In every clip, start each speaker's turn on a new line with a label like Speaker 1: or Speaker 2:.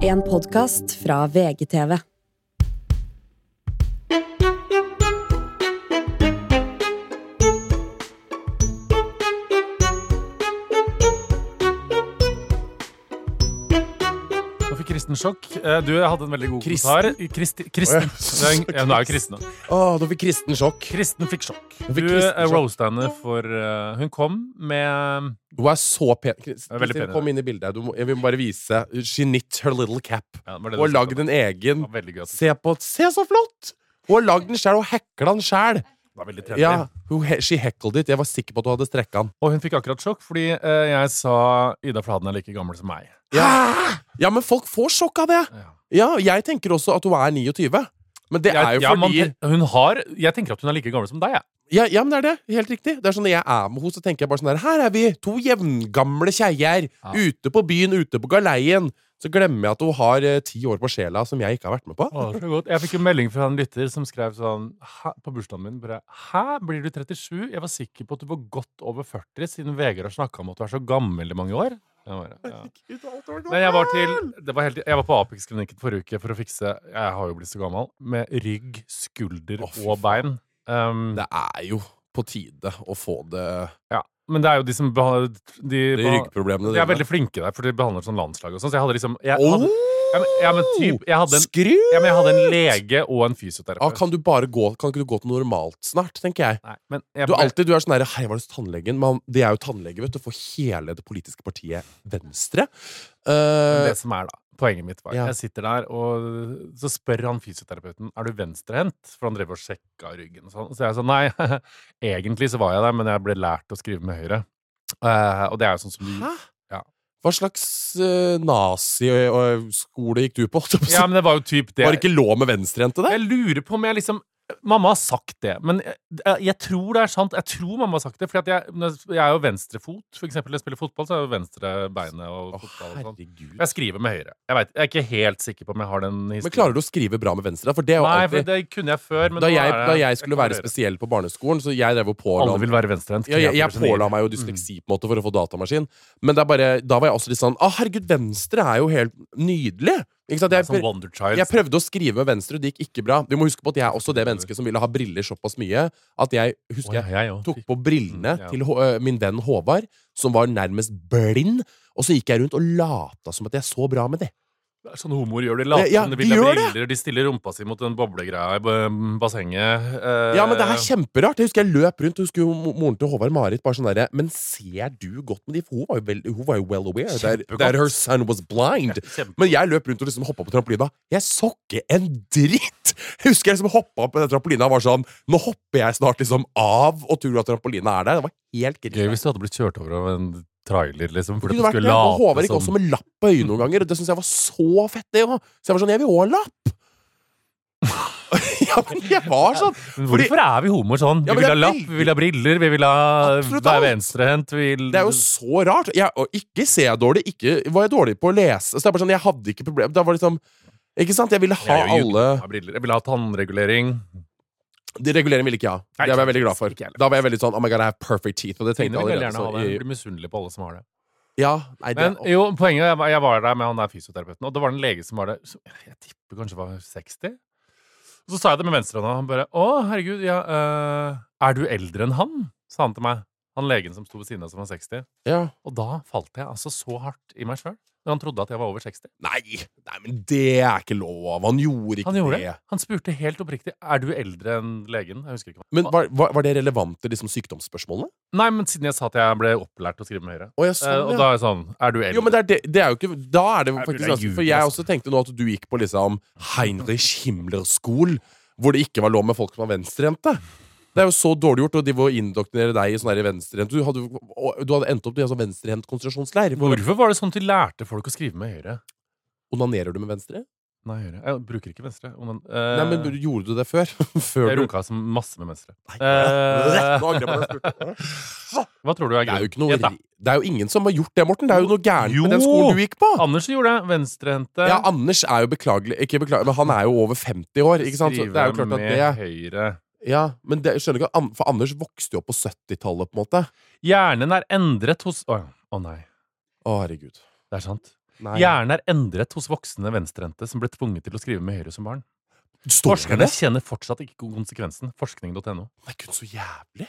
Speaker 1: En podkast fra VGTV.
Speaker 2: Nå fikk Kristen sjokk. Eh, Du hadde en veldig god
Speaker 3: Kristen?
Speaker 2: kommentar. Kristen? Kristen. Det er en- Ja, nå er jo kristen. da.
Speaker 3: Åh, da fikk kristen sjokk.
Speaker 2: Kristen fikk sjokk.
Speaker 3: Nå fikk
Speaker 2: Du
Speaker 3: Kristen
Speaker 2: eh,
Speaker 3: sjokk.
Speaker 2: roasta henne for eh, Hun kom med
Speaker 3: Hun er så pen. Kristen,
Speaker 2: er veldig pen, ja.
Speaker 3: kom inn i bildet. Du må, jeg vil bare vise. She knit her little cap.
Speaker 2: ja, det var det
Speaker 3: Og
Speaker 2: du snakket
Speaker 3: lagd
Speaker 2: om.
Speaker 3: en egen.
Speaker 2: Det var Veldig gøy. at du-
Speaker 3: Se på Se så flott! Hun har lagd den sjæl og hekla den sjæl.
Speaker 2: Det var veldig trendy.
Speaker 3: Ja, hun he- she heckled it. Jeg var sikker på at hun hadde strekka den.
Speaker 2: Og hun fikk akkurat sjokk fordi eh, jeg sa Ida Fladen er like gammel som meg.
Speaker 3: Ja. ja, men folk får sjokk av det.
Speaker 2: Ja.
Speaker 3: Ja, jeg tenker også at hun er 29. Men det er
Speaker 2: Jeg,
Speaker 3: jo
Speaker 2: ja, man,
Speaker 3: fordi
Speaker 2: te- hun har, jeg tenker at hun er like gammel som deg. jeg.
Speaker 3: Ja, ja, men det er det. Helt riktig. Det er sånn Når jeg er med henne, så tenker jeg bare sånn der Her er vi, to jevngamle kjeier.
Speaker 2: Ja.
Speaker 3: Ute på byen, ute på galeien. Så glemmer jeg at hun har eh, ti år på sjela som jeg ikke har vært med på.
Speaker 2: Å, det er så godt. Jeg fikk en melding fra en lytter som skrev sånn hæ, på bursdagen min bare Hæ, blir du 37? Jeg var sikker på at du var godt over 40 siden Vegard har snakka om at du er så gammel i mange år. Jeg bare, ja. Nei, jeg var, til, det var helt, jeg var på Apex-klinikken forrige uke for å fikse Jeg har jo blitt så gammel. Med rygg, skulder
Speaker 3: Å, fy
Speaker 2: og bein. Um,
Speaker 3: Det er jo på tide å få det
Speaker 2: ja. Men det er jo de som behandler De,
Speaker 3: de
Speaker 2: behandler-
Speaker 3: ryggproblemene
Speaker 2: de er veldig flinke der, for de behandler sånn landslag og sånn. Så jeg hadde liksom jeg
Speaker 3: oh!
Speaker 2: hadde, ja, men, ja, men typ Jeg hadde en,
Speaker 3: Skru!
Speaker 2: ja, men jeg hadde en lege og en
Speaker 3: Ja,
Speaker 2: fysioterapeut.
Speaker 3: kan du bare gå Kan ikke du gå til normalt snart, tenker jeg.
Speaker 2: Nei, men jeg,
Speaker 3: Du er alltid du er sånn der, Hei, var det hos tannlegen? Men han- det er jo tannlege, vet du, for hele det politiske partiet Venstre.
Speaker 2: Men
Speaker 3: Eh,
Speaker 2: det som er da Poenget mitt var
Speaker 3: Ja.
Speaker 2: Jeg sitter der og så spør han fysioterapeuten Er du venstrehendt? For han drev og sjekka ryggen og sånn. Så jeg sa nei, egentlig så var jeg der Men jeg ble lært å skrive med høyre Eh, Og det er jo sånn som
Speaker 3: Hæ?
Speaker 2: Ja.
Speaker 3: Mm. Hva slags uh, nazi-skole gikk du på? holdt jeg på å si?
Speaker 2: Ja, men det var jo typ det
Speaker 3: Var det ikke lov med venstrehendte der?
Speaker 2: Jeg lurer på om jeg liksom Mamma har sagt det, men jeg, jeg tror det er sant. Jeg tror mamma har sagt det, for jeg, når jeg jeg er jo venstrefot. For eksempel når jeg spiller fotball, så er jeg jo venstre beinet og
Speaker 3: Å,
Speaker 2: fotball og sånn.
Speaker 3: herregud.
Speaker 2: Jeg skriver med høyre. Jeg, vet, jeg er ikke helt sikker på om jeg har den historien.
Speaker 3: Men klarer du å skrive bra med venstre? For det er jo
Speaker 2: Nei, for
Speaker 3: alltid
Speaker 2: det kunne jeg før. Men
Speaker 3: da,
Speaker 2: nå
Speaker 3: jeg,
Speaker 2: er det-
Speaker 3: da jeg skulle
Speaker 2: kan
Speaker 3: være
Speaker 2: gjøre det.
Speaker 3: spesiell på barneskolen, så jeg drev og påla
Speaker 2: Alle vil være venstrehendt.
Speaker 3: ja, jeg, jeg
Speaker 2: kreative genier.
Speaker 3: påla meg jo dysleksi på en måte for å få
Speaker 2: Mm.
Speaker 3: datamaskin. Men det er bare, da var jeg også litt sånn Å, herregud, venstre er jo helt nydelig! Ikke sant?
Speaker 2: Det er
Speaker 3: Jeg,
Speaker 2: Som
Speaker 3: pr-
Speaker 2: Wonder Child.
Speaker 3: jeg prøvde å skrive med venstre, det gikk ikke bra. Du må huske på at jeg er også det mennesket som ville ha briller såpass mye at jeg
Speaker 2: Å,
Speaker 3: husker
Speaker 2: ja,
Speaker 3: jeg
Speaker 2: jeg også.
Speaker 3: tok på brillene
Speaker 2: Mm, ja.
Speaker 3: til Hå- øh, min venn Håvard, som var nærmest blind. Og så gikk jeg rundt og lata som at jeg så bra med det.
Speaker 2: Det er Sånne homoer gjør det. Later,
Speaker 3: Ja,
Speaker 2: de
Speaker 3: de
Speaker 2: vil ha
Speaker 3: gjør
Speaker 2: briller, de stiller rumpa si mot den boblegreia i b- bassenget. eh,
Speaker 3: Ja, men det er kjemperart. Jeg husker jeg løp rundt, og husker jo mo- moren til Håvard Marit bare sånn derre Men ser du godt med de? For hun var jo, vel, hun var jo well aware that,
Speaker 2: Kjempegodt.
Speaker 3: that her son was blind.
Speaker 2: kjempe-
Speaker 3: Men jeg løp rundt og liksom hoppa på trampolina. Jeg så ikke en dritt! Jeg husker jeg liksom hoppa på den trampolina og var sånn Nå hopper jeg snart liksom av og tror at trampolina er der. Det var helt
Speaker 2: Gøy
Speaker 3: greit.
Speaker 2: hvis du hadde blitt kjørt over av en trailer, liksom.
Speaker 3: Det
Speaker 2: Fordi du
Speaker 3: kunne vært
Speaker 2: skulle
Speaker 3: det, og Håvard
Speaker 2: late
Speaker 3: gikk også
Speaker 2: som
Speaker 3: med lapp på øynene noen ganger, og det syns jeg var så fett, det òg. Så jeg var sånn Jeg vil òg ha lapp! ja, men jeg var sånn.
Speaker 2: Men
Speaker 3: fordi-
Speaker 2: Hvorfor er vi homoer sånn?
Speaker 3: Ja,
Speaker 2: vi
Speaker 3: men
Speaker 2: vil ha lapp,
Speaker 3: det er
Speaker 2: vi vil ha briller, vi vil ha
Speaker 3: Absolutt
Speaker 2: være
Speaker 3: alt.
Speaker 2: venstrehendt, vi vil
Speaker 3: Det er jo så rart. Jeg, og ikke ser jeg dårlig, ikke var jeg dårlig på å lese. Så det er bare sånn, Jeg hadde ikke problem Da var det liksom Ikke sant? Jeg ville ha
Speaker 2: Jeg er jo
Speaker 3: alle
Speaker 2: jøde, jeg har briller. Jeg vil ha tannregulering.
Speaker 3: De reguleringene ville ikke jeg ha.
Speaker 2: Nei,
Speaker 3: Det var jeg veldig glad
Speaker 2: ikke
Speaker 3: for.
Speaker 2: jeg heller.
Speaker 3: Da var jeg veldig sånn Oh my god, I have perfect teeth. Og det
Speaker 2: Kvinner
Speaker 3: tenkte jeg
Speaker 2: vil veldig
Speaker 3: allerede.
Speaker 2: gjerne ha
Speaker 3: Så,
Speaker 2: det.
Speaker 3: i,
Speaker 2: Blir misunnelige på alle som har det.
Speaker 3: ja, nei, det,
Speaker 2: Men jo, poenget jeg var, jeg var der med han der fysioterapeuten, og det var en lege som var der som Jeg tipper kanskje var 60. Og så sa jeg det med venstrehånda, og han bare 'Å, herregud, ja, eh, er du eldre enn han?' sa han til meg. Han legen som sto ved siden av som var 60.
Speaker 3: ja.
Speaker 2: Og da falt jeg altså så hardt i meg sjøl, når han trodde at jeg var over 60.
Speaker 3: nei, nei, men det er ikke lov. Han gjorde ikke
Speaker 2: Han gjorde det.
Speaker 3: det.
Speaker 2: Han spurte helt oppriktig 'Er du eldre enn legen?' Jeg husker ikke. hva-
Speaker 3: Men var, var, var det relevant til liksom, sykdomsspørsmålene?
Speaker 2: Nei, men siden jeg sa at jeg ble opplært til å skrive med høyre.
Speaker 3: Å, jeg
Speaker 2: Eh,
Speaker 3: så
Speaker 2: og
Speaker 3: det.
Speaker 2: da er jeg sånn 'Er du eldre?'
Speaker 3: Jo, men det er, det, det er jo ikke Da er det
Speaker 2: Nei,
Speaker 3: faktisk
Speaker 2: det er
Speaker 3: ganske For
Speaker 2: ljug,
Speaker 3: jeg
Speaker 2: altså.
Speaker 3: også tenkte nå at du gikk på liksom Heinrich Himmler-skol, hvor det ikke var lov med folk som var venstrehendte. Det er jo så dårlig gjort, og de vil indoktrinere deg i sånn her venstrehendt du, hadde- og du hadde endt opp i en sånn venstrehendt konsentrasjonsleir. Hvor
Speaker 2: Hvorfor var det sånn at de lærte folk å skrive med høyre?
Speaker 3: onanerer du med venstre?
Speaker 2: Nei, høyre. Jeg bruker ikke venstre. Og den,
Speaker 3: Nei,
Speaker 2: eh,
Speaker 3: men du- gjorde du det før? før
Speaker 2: jeg
Speaker 3: du
Speaker 2: runka som masse med venstre.
Speaker 3: Nei,
Speaker 2: Eh,
Speaker 3: Nå angrer jeg på det jeg spurte.
Speaker 2: hva tror du er
Speaker 3: Det er jo
Speaker 2: grunnen?
Speaker 3: ikke noe
Speaker 2: Gjett da.
Speaker 3: ri- Det er jo ingen som har gjort det, Morten. Det er jo noe gærent med den
Speaker 2: Jo!
Speaker 3: skolen du gikk på.
Speaker 2: Anders gjorde det. Venstrehendte.
Speaker 3: Ja, Anders er jo beklagelig Ikke beklagelig, men han er jo over 50 år, ikke sant? Så det er
Speaker 2: Skrive
Speaker 3: jo klart at
Speaker 2: med
Speaker 3: det
Speaker 2: høyre.
Speaker 3: Ja, men det, skjønner du ikke, An- for Anders vokste jo opp på 70-tallet, på en måte.
Speaker 2: Hjernen er endret hos Å ja. Å nei.
Speaker 3: Å, herregud.
Speaker 2: Det er sant.
Speaker 3: Nei.
Speaker 2: Hjernen er endret hos voksne venstrehendte som ble tvunget til å skrive med høyre som barn.
Speaker 3: Står
Speaker 2: Forskerne
Speaker 3: det det?
Speaker 2: kjenner fortsatt ikke konsekvensen. Forskning.no.
Speaker 3: Nei, gud, så jævlig.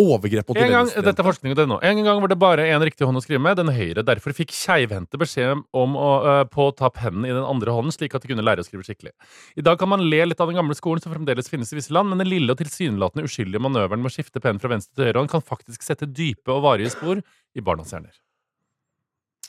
Speaker 3: Overgrep mot
Speaker 2: En gang,
Speaker 3: venstre.
Speaker 2: dette er forskning.no. En gang var det bare én riktig hånd å skrive med, den høyre. Derfor fikk keivhendte beskjed om å, eh, på å ta pennen i den andre hånden, slik at de kunne lære å skrive skikkelig. I dag kan man le litt av den gamle skolen som fremdeles finnes i visse land, men den lille og tilsynelatende uskyldige manøveren med å skifte pennen fra venstre til høyre hånd kan faktisk sette dype og varige spor i barnas hjerner.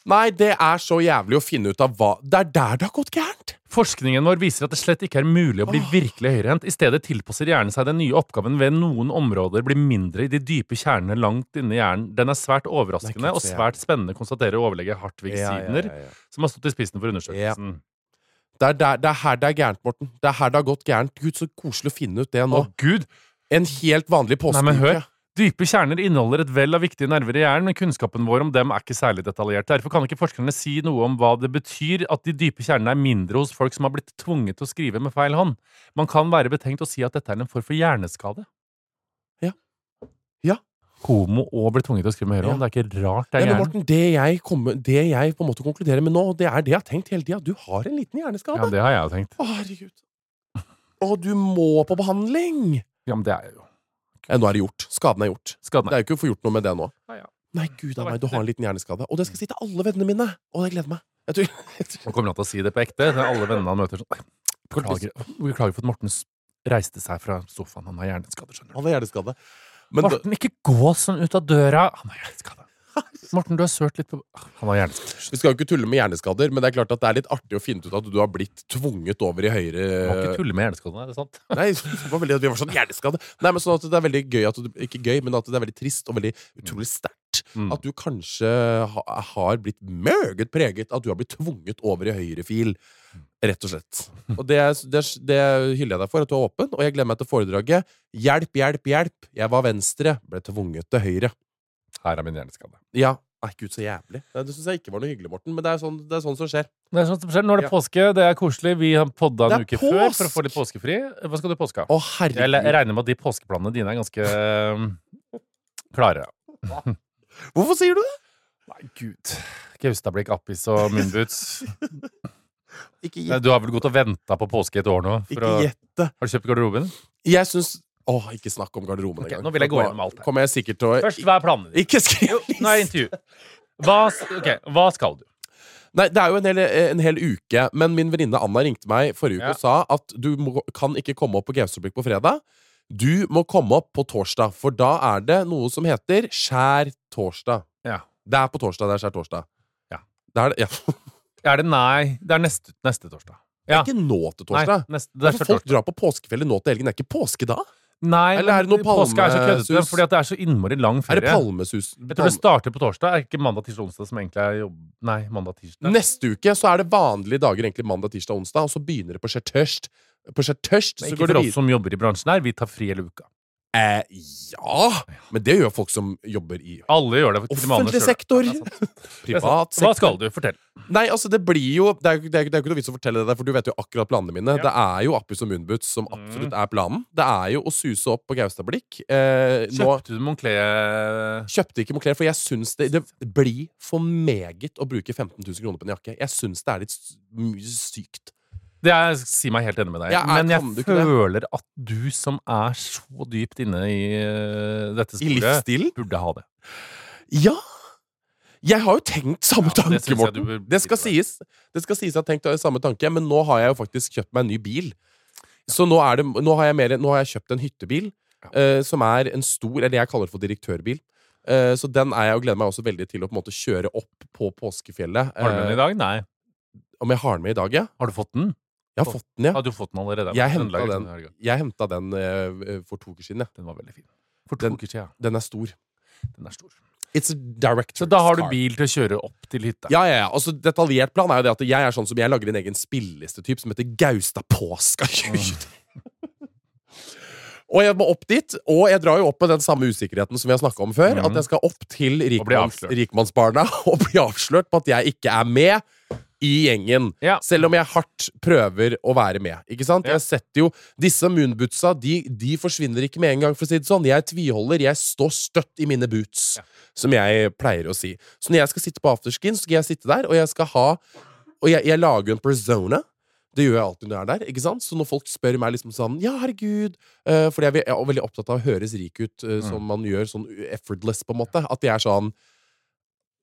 Speaker 3: Nei, det er så jævlig å finne ut av hva Det er der det har gått gærent!
Speaker 2: Forskningen vår viser at det slett ikke er mulig å bli
Speaker 3: Åh.
Speaker 2: virkelig høyrehendt. I stedet tilpasser hjernen seg den nye oppgaven ved noen områder blir mindre i de dype kjernene langt inni hjernen. Den er svært
Speaker 3: Det er
Speaker 2: overraskende
Speaker 3: ikke
Speaker 2: og
Speaker 3: så
Speaker 2: svært spennende, konstaterer overlege Hartvig
Speaker 3: Ja, ja,
Speaker 2: Sidner,
Speaker 3: ja, ja.
Speaker 2: som har stått i spissen for undersøkelsen.
Speaker 3: Det, er der, det er her det er gærent, Morten. Det er her det har gått gærent. Gud, så koselig å finne ut det
Speaker 2: Å,
Speaker 3: nå.
Speaker 2: gud!
Speaker 3: En helt vanlig påske.
Speaker 2: Nei, men hør. Dype kjerner inneholder et vell av viktige nerver i hjernen, men kunnskapen vår om dem er ikke særlig detaljert. Derfor kan ikke forskerne si noe om hva det betyr at de dype kjernene er mindre hos folk som har blitt tvunget til å skrive med feil hånd. Man kan være betenkt å si at dette er en form for hjerneskade.
Speaker 3: Ja. Ja.
Speaker 2: Homo og ble tvunget til å skrive med høyre hånd. Det er ikke rart det
Speaker 3: Nei,
Speaker 2: er
Speaker 3: men
Speaker 2: hjernen.
Speaker 3: Morten, det jeg, kommer, det jeg på en måte konkluderer med nå, det er det jeg har tenkt hele tida. Du har en liten hjerneskade.
Speaker 2: Ja, det har jeg jo tenkt.
Speaker 3: Å, herregud. Å, du må på behandling!
Speaker 2: Ja, men det er jeg jo
Speaker 3: Ja, nå er det gjort. Skaden er gjort.
Speaker 2: Skaden
Speaker 3: Det
Speaker 2: er
Speaker 3: er jo ikke å få gjort noe med det nå.
Speaker 2: Nei, ja.
Speaker 3: Nei, gud
Speaker 2: Da vet
Speaker 3: av meg, du
Speaker 2: du
Speaker 3: har en liten hjerneskade. Og det skal jeg si til alle vennene mine! Og jeg gleder meg. Jeg tror, jeg tror.
Speaker 2: Nå kommer han til å si det på ekte. Det er alle vennene han møter sånn Beklager, beklager for at Morten s- reiste seg fra sofaen. Han har hjerneskade, skjønner du.
Speaker 3: Han har hjerneskade. Men
Speaker 2: Morten, ikke gå sånn ut av døra! Han har hjerneskade. Morten, du har sølt litt på Han har hjerneskade.
Speaker 3: Vi skal jo ikke tulle med hjerneskader, men det er klart at det er litt artig å finne ut at du har blitt tvunget over i høyre
Speaker 2: Må ikke tulle med hjerneskadene, er det sant?
Speaker 3: Nei, det var veldig at vi var sånn hjerneskade. Nei, men sånn at det er veldig gøy at du, Ikke gøy, men at det er veldig trist og veldig utrolig sterkt.
Speaker 2: Mm.
Speaker 3: At du kanskje ha, har blitt meget preget At du har blitt tvunget over i høyre fil.
Speaker 2: Mm.
Speaker 3: Rett og slett. Og det, det, det hyller jeg deg for, at du er åpen. Og jeg gleder meg til foredraget. Hjelp, hjelp, hjelp! Jeg var venstre, ble tvunget til høyre.
Speaker 2: Her er min hjerneskade.
Speaker 3: Ja. Nei, gud, så jævlig. Nei, Det syns jeg ikke var noe hyggelig, Morten. Men det er sånn, det er sånn som skjer.
Speaker 2: Det er sånn som skjer. Nå er det påske, det er koselig. Vi har podda en
Speaker 3: Det er
Speaker 2: uke før
Speaker 3: påsk!
Speaker 2: for å få litt påskefri. Hva skal du i påska?
Speaker 3: Å,
Speaker 2: Jeg le-
Speaker 3: herregud.
Speaker 2: regner med at de påskeplanene dine er ganske eh, klare.
Speaker 3: Hvorfor sier du det?
Speaker 2: Nei, gud. Gaustablikk, appis og munnboots.
Speaker 3: Ikke
Speaker 2: Nei,
Speaker 3: gjette.
Speaker 2: Du har vel gått og venta på påske i et år nå? For
Speaker 3: Ikke
Speaker 2: å...
Speaker 3: gjette.
Speaker 2: Har du kjøpt garderoben?
Speaker 3: Jeg syns Åh, ikke snakk om garderoben
Speaker 2: Ok,
Speaker 3: engang.
Speaker 2: nå vil jeg
Speaker 3: Da
Speaker 2: gå
Speaker 3: kommer
Speaker 2: gjennom alt her.
Speaker 3: Kommer jeg sikkert til å
Speaker 2: Først, hva er planene dine?
Speaker 3: Ikke skriv
Speaker 2: Jo, nå er det intervju. Hva, s- ok, hva skal du?
Speaker 3: Nei, det er jo en hel, eh, en hel uke, men min venninne Anna ringte meg forrige uke
Speaker 2: Ja.
Speaker 3: og sa at du må, kan ikke komme opp på Gaustablikk på fredag. Du må komme opp på torsdag, for da er det noe som heter Skjær torsdag.
Speaker 2: Ja.
Speaker 3: Det er på torsdag. Det er Skjær torsdag.
Speaker 2: Ja.
Speaker 3: Det er, det- ja.
Speaker 2: Er det nei? Det er neste, neste torsdag. Ja.
Speaker 3: det er ikke nå til torsdag.
Speaker 2: Nei, neste, det er
Speaker 3: Hvorfor
Speaker 2: før
Speaker 3: folk
Speaker 2: torsdag.
Speaker 3: drar på påskefjellet nå til helgen? Det er ikke påske da?
Speaker 2: Nei,
Speaker 3: Eller er det noe
Speaker 2: men påske er så køddete
Speaker 3: palmesus?
Speaker 2: fordi at det er så innmari lang
Speaker 3: Er
Speaker 2: ferie.
Speaker 3: det palmesus?
Speaker 2: jeg tror det starter på torsdag. Er det ikke mandag, tirsdag, onsdag som egentlig er jobb... Nei, mandag, tirsdag.
Speaker 3: Neste uke så er det vanlige dager, egentlig mandag, tirsdag, onsdag, og så begynner det på skjærtørst. På skjærtørst
Speaker 2: Men
Speaker 3: så
Speaker 2: ikke
Speaker 3: går det
Speaker 2: for oss
Speaker 3: videre
Speaker 2: som jobber i bransjen her. Vi tar fri hele uka.
Speaker 3: eh, Ja! Men det gjør folk som jobber i
Speaker 2: Alle gjør det. til og med Anders
Speaker 3: offentlig
Speaker 2: gjør det.
Speaker 3: sektor.
Speaker 2: Ja, det er sant. Det er sant. Hva
Speaker 3: Privat sektor.
Speaker 2: skal du? Fortell.
Speaker 3: Nei, altså, det blir jo Det er jo det er jo- det er jo ikke noe vits å fortelle det der, for du vet jo akkurat planene mine.
Speaker 2: Ja. Mm.
Speaker 3: Det er jo Appus og Moonboots som absolutt er planen. Det er jo å suse opp på Gaustablikk. Eh, nå
Speaker 2: Kjøpte du Moncler
Speaker 3: kjøpte ikke Moclair, for jeg syns det, det blir for meget å bruke 15 000 kroner på en jakke. Jeg syns det er litt s- mye sykt.
Speaker 2: Det er, Si meg helt enig med deg.
Speaker 3: Ja, er-
Speaker 2: Men
Speaker 3: kan du
Speaker 2: jeg
Speaker 3: ikke det?
Speaker 2: føler at du som er så dypt inne i eh, dette
Speaker 3: I
Speaker 2: sporet,
Speaker 3: livsstilen.
Speaker 2: burde ha det.
Speaker 3: Ja! Jeg har jo tenkt samme
Speaker 2: Ja, det synes
Speaker 3: tanke,
Speaker 2: jeg
Speaker 3: Morten.
Speaker 2: du bør
Speaker 3: Det skal
Speaker 2: si til
Speaker 3: sies. Det skal sies at jeg har tenkt å ha samme tanke, men nå har jeg jo faktisk kjøpt meg en ny bil. Så nå, er det, nå, har, jeg mer, nå har jeg kjøpt en hyttebil, eh, som er en stor Eller jeg kaller det for direktørbil. Eh, så den er jeg og gleder meg også veldig til å på en måte kjøre opp på påskefjellet.
Speaker 2: Har du med den i dag? Nei.
Speaker 3: Eh, om jeg har den med i dag, ja?
Speaker 2: Har du fått den?
Speaker 3: Jeg har fått den, ja.
Speaker 2: Hadde du fått den allerede?
Speaker 3: Jeg
Speaker 2: Den
Speaker 3: hentet
Speaker 2: laget
Speaker 3: den.
Speaker 2: denne helga.
Speaker 3: Jeg henta den eh, for to uker siden. Ja.
Speaker 2: Den var veldig fin. For to
Speaker 3: Den-
Speaker 2: uker siden.
Speaker 3: Den er stor.
Speaker 2: Den er stor.
Speaker 3: It's a director's
Speaker 2: Så da har du
Speaker 3: car.
Speaker 2: bil til å kjøre opp til hytta.
Speaker 3: Ja, ja, ja. Altså, detaljert plan er jo det at jeg er sånn som jeg lager en egen spillelistetyp som heter Gaustapåska 2023. Og jeg må opp dit, og jeg drar jo opp med den samme usikkerheten som vi har snakka om før.
Speaker 2: Mhm.
Speaker 3: At jeg skal opp til
Speaker 2: bli
Speaker 3: rikmanns,
Speaker 2: avslørt.
Speaker 3: rikmannsbarna og bli avslørt på at jeg ikke er med. i gjengen.
Speaker 2: Ja.
Speaker 3: Selv om jeg hardt prøver å være med. Ikke sant?
Speaker 2: Ja.
Speaker 3: Jeg setter jo Disse moonbootsa de, de forsvinner ikke med en gang, for å si det sånn. Jeg tviholder. Jeg står støtt i mine boots,
Speaker 2: Ja.
Speaker 3: som jeg pleier å si. Så når jeg skal sitte på afterskin, så skal jeg sitte der, og jeg skal ha Og jeg, jeg lager en persona. Det gjør jeg alltid når jeg er der. ikke sant? Så når folk spør meg liksom sånn Ja, herregud eh, Fordi jeg, vil- jeg er veldig opptatt av å høres rik ut,
Speaker 2: Mm.
Speaker 3: eh, som man gjør sånn effortless, på en måte. At jeg er sånn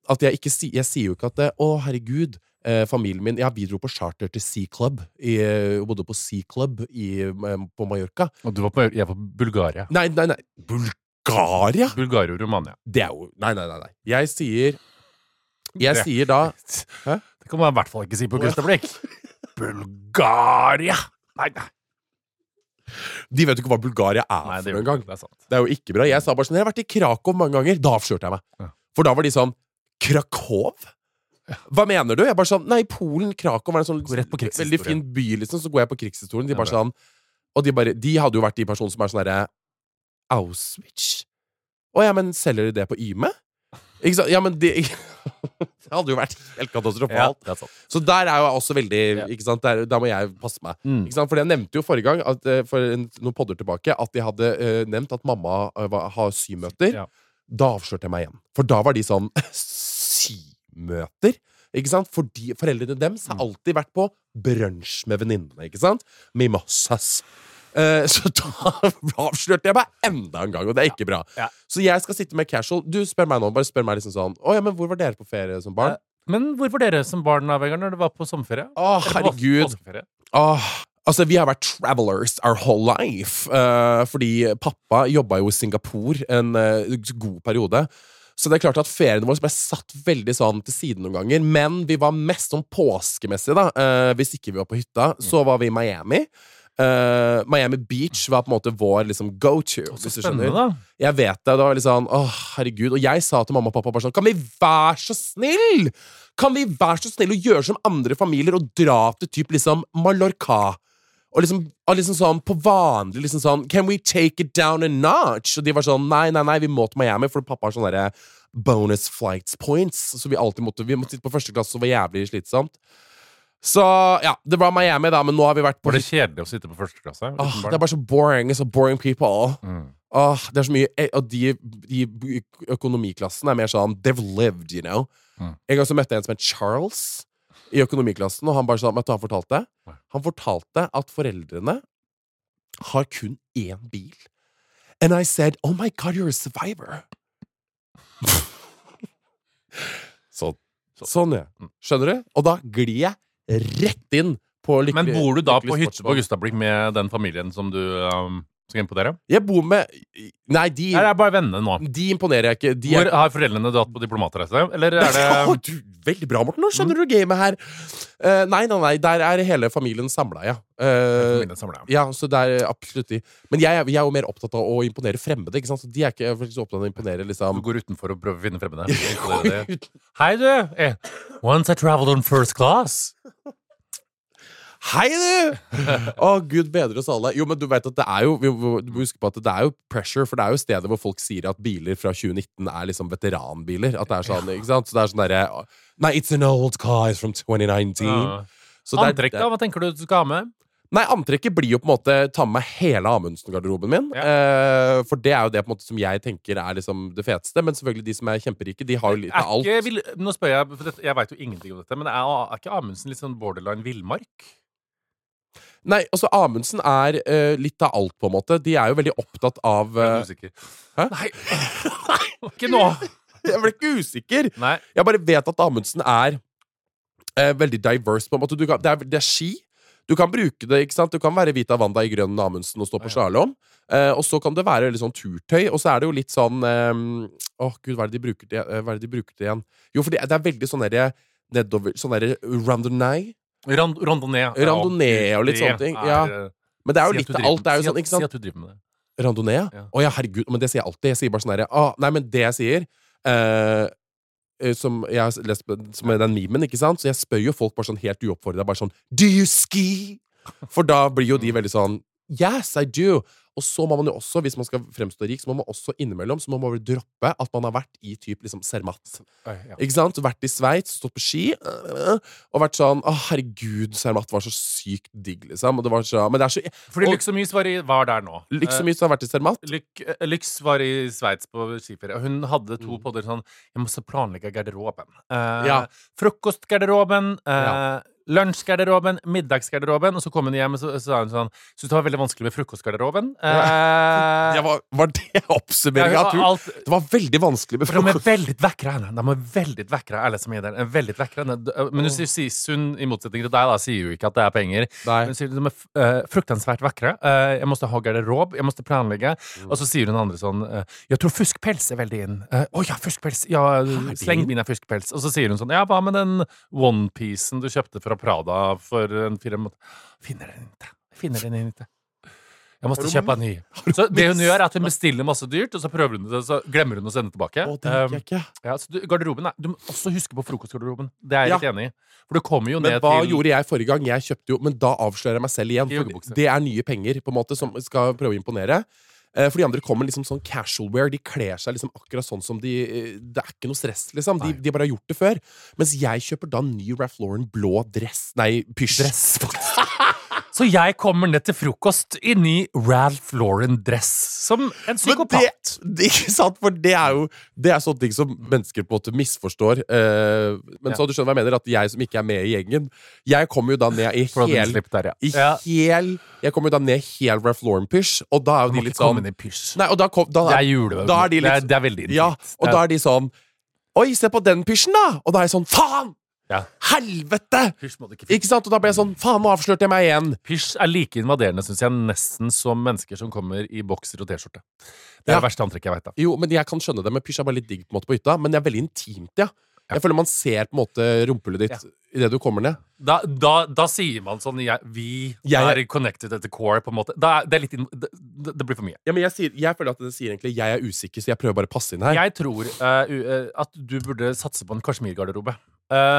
Speaker 3: At jeg ikke sier Jeg sier jo ikke at det, Å, herregud, eh, familien min Jeg bidro på charter til Sea Club. I, eh, bodde på Sea Club i, eh, på Mallorca.
Speaker 2: Og du var på, jeg var på Bulgaria.
Speaker 3: Nei, nei, nei. Bulgaria?
Speaker 2: Bulgaria og Romania.
Speaker 3: Det er jo Nei, nei, nei. nei. Jeg sier Jeg
Speaker 2: Det-
Speaker 3: sier da Hæ?
Speaker 2: Det kan man i hvert fall ikke si på
Speaker 3: Å, ja.
Speaker 2: Gustav Blikk. Bulgaria! Nei, nei.
Speaker 3: De vet jo ikke hva Bulgaria er
Speaker 2: nei det,
Speaker 3: Ah, for
Speaker 2: gjør
Speaker 3: noen gang.
Speaker 2: det er sant.
Speaker 3: Det er jo ikke bra. Jeg sa bare sånn Jeg har vært i Krakow mange ganger. Da avslørte jeg meg.
Speaker 2: Ja.
Speaker 3: For da var de sånn Krakow? Hva mener du? Jeg bare sånn Nei, Polen, Krakow var en sånn
Speaker 2: Går rett på krigshistorien.
Speaker 3: veldig fin by, liksom. Så går jeg på krigshistorien. De
Speaker 2: Ja,
Speaker 3: bare
Speaker 2: bra.
Speaker 3: sånn Og de bare De hadde jo vært de personene som er sånn herre Auschwitz? Å ja, men selger de det på Yme? Ikke sant? Ja, men de Det hadde jo vært helt
Speaker 2: Ja,
Speaker 3: katastrofalt.
Speaker 2: det er sant.
Speaker 3: Så der er jo jeg også veldig
Speaker 2: Ja.
Speaker 3: Ikke sant? Der, da må jeg passe meg.
Speaker 2: Mm.
Speaker 3: Ikke sant? For jeg nevnte jo forrige gang at, eh, For en- noen podder tilbake At de hadde eh, nevnt at mamma eh, var- har symøter
Speaker 2: Ja.
Speaker 3: Da avslørte jeg meg igjen For da var de sånn Symøter? Ikke sant? Fordi foreldrene deres
Speaker 2: Mm.
Speaker 3: har alltid vært på Brunch med venninnene, ikke sant? Mimossas Eh, så da avslørte jeg meg enda en gang, og det er ikke bra.
Speaker 2: Ja.
Speaker 3: Så jeg skal sitte med casual. Du spør meg nå, bare spør meg liksom sånn Å ja, men hvor var dere på ferie som barn?
Speaker 2: Ja. Men hvor var dere som barn av Vegard når det var på sommerferie? Eller
Speaker 3: Å,
Speaker 2: på
Speaker 3: Ah, herregud.
Speaker 2: påskeferie?
Speaker 3: Åh, altså, vi har vært travelers our whole life. eh, fordi pappa jobba jo i Singapore en eh, god periode. Så det er klart at feriene våre ble satt veldig sånn til siden noen ganger. Men vi var mest sånn påskemessig, da. eh, hvis ikke vi var på hytta,
Speaker 2: Mm.
Speaker 3: så var vi i Miami. Eh, Miami Beach var på en måte vår liksom, go to.
Speaker 2: Så spennende, da.
Speaker 3: Jeg vet det. og Det var litt sånn Åh, herregud. Og jeg sa til mamma og pappa bare sånn Kan vi være så snill? Kan vi være så snill å gjøre som andre familier og dra til typ liksom Mallorca? Og liksom, og liksom sånn på vanlig liksom sånn Can we take it down a notch? Og de var sånn Nei, nei, nei, vi må til Miami, for pappa har sånne derre bonus flights points. Så vi alltid måtte Vi måtte sitte på første klasse, så det var jævlig slitsomt. Så ja, det var Miami, da, men nå har vi vært på
Speaker 2: Var det kjedelig å sitte på første klasse? uten
Speaker 3: Åh,
Speaker 2: barn?
Speaker 3: Det er bare så boring. Så boring people.
Speaker 2: Mm.
Speaker 3: Åh, det er så mye eh, Og de i økonomiklassen er mer sånn They've lived, you know.
Speaker 2: Mm.
Speaker 3: En gang så møtte jeg en som het Charles i økonomiklassen, og han bare sånn Vet du hva han fortalte?
Speaker 2: Nei.
Speaker 3: Han fortalte at foreldrene har kun én bil. And I said, Oh my God, you're a survivor. så, sånn, ja. Skjønner du? Og da glir jeg rett inn på
Speaker 2: Men
Speaker 3: lykkelig
Speaker 2: bor du da på
Speaker 3: lykkelig
Speaker 2: hytte på
Speaker 3: sportsbarn.
Speaker 2: Gustavblikk med den familien som du um, skal imponere?
Speaker 3: Jeg bor med Nei, de,
Speaker 2: Her er bare vennene nå.
Speaker 3: de imponerer jeg ikke. De
Speaker 2: Hvor
Speaker 3: er,
Speaker 2: Har foreldrene dratt på diplomatreise? Eller er det
Speaker 3: Å, du, veldig bra, Morten. Nå skjønner du gamet her. Eh, nei, nei, nei. Der er hele familien samla, ja. Eh,
Speaker 2: Familien samler dem.
Speaker 3: ja, så det er eh, absolutt de. Men jeg, er- jeg er jo mer opptatt av å imponere fremmede. ikke sant? Så de er ikke jeg er faktisk opptatt av å imponere
Speaker 2: Du
Speaker 3: liksom
Speaker 2: går utenfor og prøver å finne fremmede. Det er det. Hei, du! Eh, Once I traveled on first class.
Speaker 3: Hei, du! Å, gud bedre oss alle. Jo, men du vet at det er jo vi må vi må huske på at det er jo pressure, for det er jo steder hvor folk sier at biler fra 2019 er liksom veteranbiler. At det er sånn, ikke sant? Så det er sånn derre Nei, it's an old car it's from 2019.
Speaker 2: Ja.
Speaker 3: Så det er-
Speaker 2: Antrekk, da? Hva tenker du du skal ha med?
Speaker 3: Nei, antrekket blir jo på en måte ta med meg hele Amundsen-garderoben min. Eh, for det er jo det på en måte som jeg tenker er liksom det feteste. Men selvfølgelig de som er kjemperike, de har jo litt
Speaker 2: Er
Speaker 3: av alt.
Speaker 2: ikke, vil, nå spør jeg, for dette, jeg veit jo ingenting om dette, men er, er ikke Amundsen litt sånn borderline villmark?
Speaker 3: Nei, altså Amundsen er eh, litt av alt, på en måte. De er jo veldig opptatt av
Speaker 2: Jeg er
Speaker 3: eh,
Speaker 2: usikker.
Speaker 3: Hæ?
Speaker 2: Nei! Ikke nå!
Speaker 3: Jeg ble ikke usikker!
Speaker 2: Nei.
Speaker 3: Jeg bare vet at Amundsen er eh, veldig diverse, på en måte. Du kan, det, er, det er ski. Du kan bruke det, ikke sant? Du kan være Vita Wanda i grønn Amundsen og stå på slalåm. Eh, og så kan det være litt sånn turtøy, og så er det jo litt sånn eh, Åh, gud, hva er det de bruker til, eh, hva er det de bruker til igjen? Jo, for det, det er veldig sånn derre nedover Sånn derre randonee.
Speaker 2: Rand, randonee. er
Speaker 3: Randonee
Speaker 2: alt.
Speaker 3: og litt sånne
Speaker 2: Det
Speaker 3: ting, ja.
Speaker 2: er, eh,
Speaker 3: Men det er jo
Speaker 2: si at
Speaker 3: litt
Speaker 2: du
Speaker 3: av
Speaker 2: driver
Speaker 3: alt. Det er
Speaker 2: med-
Speaker 3: jo sånn, ikke
Speaker 2: Si
Speaker 3: sant?
Speaker 2: at, si at du driver med det.
Speaker 3: Randonee? Ja.
Speaker 2: Ja.
Speaker 3: Å ja, herregud. Men det sier jeg alltid. Jeg sier bare sånn herre ah, Nei, men det jeg sier eh, eh, Som jeg har lest på- Som er den memen, ikke sant? Så jeg spør jo folk bare sånn helt uoppfordra. Bare sånn Do you ski? For da blir jo de veldig sånn Yes, I do. Og så må man jo også, hvis man skal fremstå rik, så må man også innimellom så må man vel droppe at man har vært i typ liksom Cermat.
Speaker 2: Oi, ja.
Speaker 3: Ikke sant? Vært i Sveits, stått på ski øh, øh, og vært sånn Å, herregud, Cermat var så sykt digg, liksom. Og det var så, men det er så
Speaker 2: Fordi
Speaker 3: Og-
Speaker 2: Lyxomis var, i- var der nå.
Speaker 3: Lykke så mye som har vært i Cermat.
Speaker 2: Eh, Lyk, eh, Lyx var i Sveits på skiferie, og hun hadde to
Speaker 3: Mm.
Speaker 2: podder sånn Jeg måtte planlegge garderoben. Eh,
Speaker 3: Ja.
Speaker 2: Frokostgarderoben, eh,
Speaker 3: Ja.
Speaker 2: lunsjgarderoben, middagsgarderoben. Og så kom hun hjem og så, så sa hun sånn Syns det var veldig vanskelig med frokostgarderoben.
Speaker 3: Det
Speaker 2: Eh,
Speaker 3: var, var det oppsummeringa?
Speaker 2: ja,
Speaker 3: Ja,
Speaker 2: alt,
Speaker 3: det var veldig vanskelig med
Speaker 2: For de er
Speaker 3: frokost.
Speaker 2: veldig vakre, Anna. De er veldig vakre, alle som er der. Er veldig vakre. Men hun sier, sier hun, i motsetning til deg, da, sier jo ikke at det er penger.
Speaker 3: Nei.
Speaker 2: Hun sier de er uh, fruktansvært vakre. Eh, jeg måtte ha garderob, jeg måtte planlegge.
Speaker 3: Mm.
Speaker 2: Og så sier hun andre sånn eh, Jeg tror fuskpels er veldig inn. Eh, Å ja, fuskpels! Ja, sleng min av fuskpels. Og så sier hun sånn Ja, hva med den onepiecen du kjøpte fra Prada for en fire måneder Finner den ikke. Finner den ikke. Jeg måtte
Speaker 3: Har du-
Speaker 2: kjøpe en ny. Så det hun gjør, er at hun bestiller masse dyrt, og så prøver hun det, så glemmer hun å sende tilbake. Um,
Speaker 3: Å, det liker jeg ikke.
Speaker 2: Ja, så du, garderoben er, du må også huske på frokostgarderoben. Det er jeg
Speaker 3: Ja.
Speaker 2: litt enig i. For du kommer jo
Speaker 3: Men
Speaker 2: ned
Speaker 3: hva
Speaker 2: til
Speaker 3: gjorde jeg forrige gang? Jeg kjøpte jo, Men da avslører jeg meg selv igjen.
Speaker 2: I joggebukse.
Speaker 3: For det er nye penger på en måte som skal prøve å imponere. Eh, For de andre kommer liksom sånn casual wear. De kler seg liksom akkurat sånn som de eh, Det er ikke noe stress, liksom. De,
Speaker 2: Nei.
Speaker 3: de bare har gjort det før. Mens jeg kjøper da ny Ralph Lauren blå dress Nei, pysj.
Speaker 2: dress. Så jeg kommer ned til frokost inni Ralph Lauren-dress som en
Speaker 3: Men det,
Speaker 2: psykopat.
Speaker 3: det, ikke sant? For det er jo Det er sånne ting som mennesker på en måte misforstår. eh, men
Speaker 2: Ja.
Speaker 3: så du skjønner hva jeg mener, at jeg som ikke er med i gjengen Jeg kommer jo da ned i
Speaker 2: For å ha den
Speaker 3: hel
Speaker 2: slipp der, ja.
Speaker 3: I
Speaker 2: ja.
Speaker 3: hel Jeg kommer jo da ned i hel Ralph Lauren-pysj, og da
Speaker 2: Du
Speaker 3: er jo
Speaker 2: må
Speaker 3: de
Speaker 2: ikke
Speaker 3: litt sånn
Speaker 2: komme inn i pysj.
Speaker 3: Nei, og da, kom, da,
Speaker 2: Det er jule...
Speaker 3: da er de
Speaker 2: det,
Speaker 3: litt
Speaker 2: er, det er veldig intimt.
Speaker 3: Ja, og
Speaker 2: Det
Speaker 3: da er de sånn Oi, se på den pysjen, da! Og da er jeg sånn Faen!
Speaker 2: Ja.
Speaker 3: Helvete!
Speaker 2: Pysj må du ikke
Speaker 3: Ikke sant? Og da ble jeg sånn Faen, nå avslørte jeg meg igjen!
Speaker 2: Pysj er like invaderende, syns jeg, nesten som mennesker som kommer i bokser og T-skjorte. Det er
Speaker 3: Ja.
Speaker 2: det verste antrekket jeg veit av.
Speaker 3: Jo, men jeg kan skjønne det, men pysj er bare litt digg på, en måte, på hytta. Men det er veldig intimt, ja. Jeg føler man ser på en måte rumpehullet ditt idet du kommer ned.
Speaker 2: Da, da, da sier man sånn jeg, Vi
Speaker 3: Jeg-
Speaker 2: er connected at the core, på en måte. Da, er- det, er litt inn, det, det det blir for mye.
Speaker 3: Ja, men jeg, sier, jeg føler at det sier egentlig jeg er usikker, så jeg prøver bare å passe inn her.
Speaker 2: Jeg tror eh, u- eh, at du burde satse på en kasjmirgarderobe.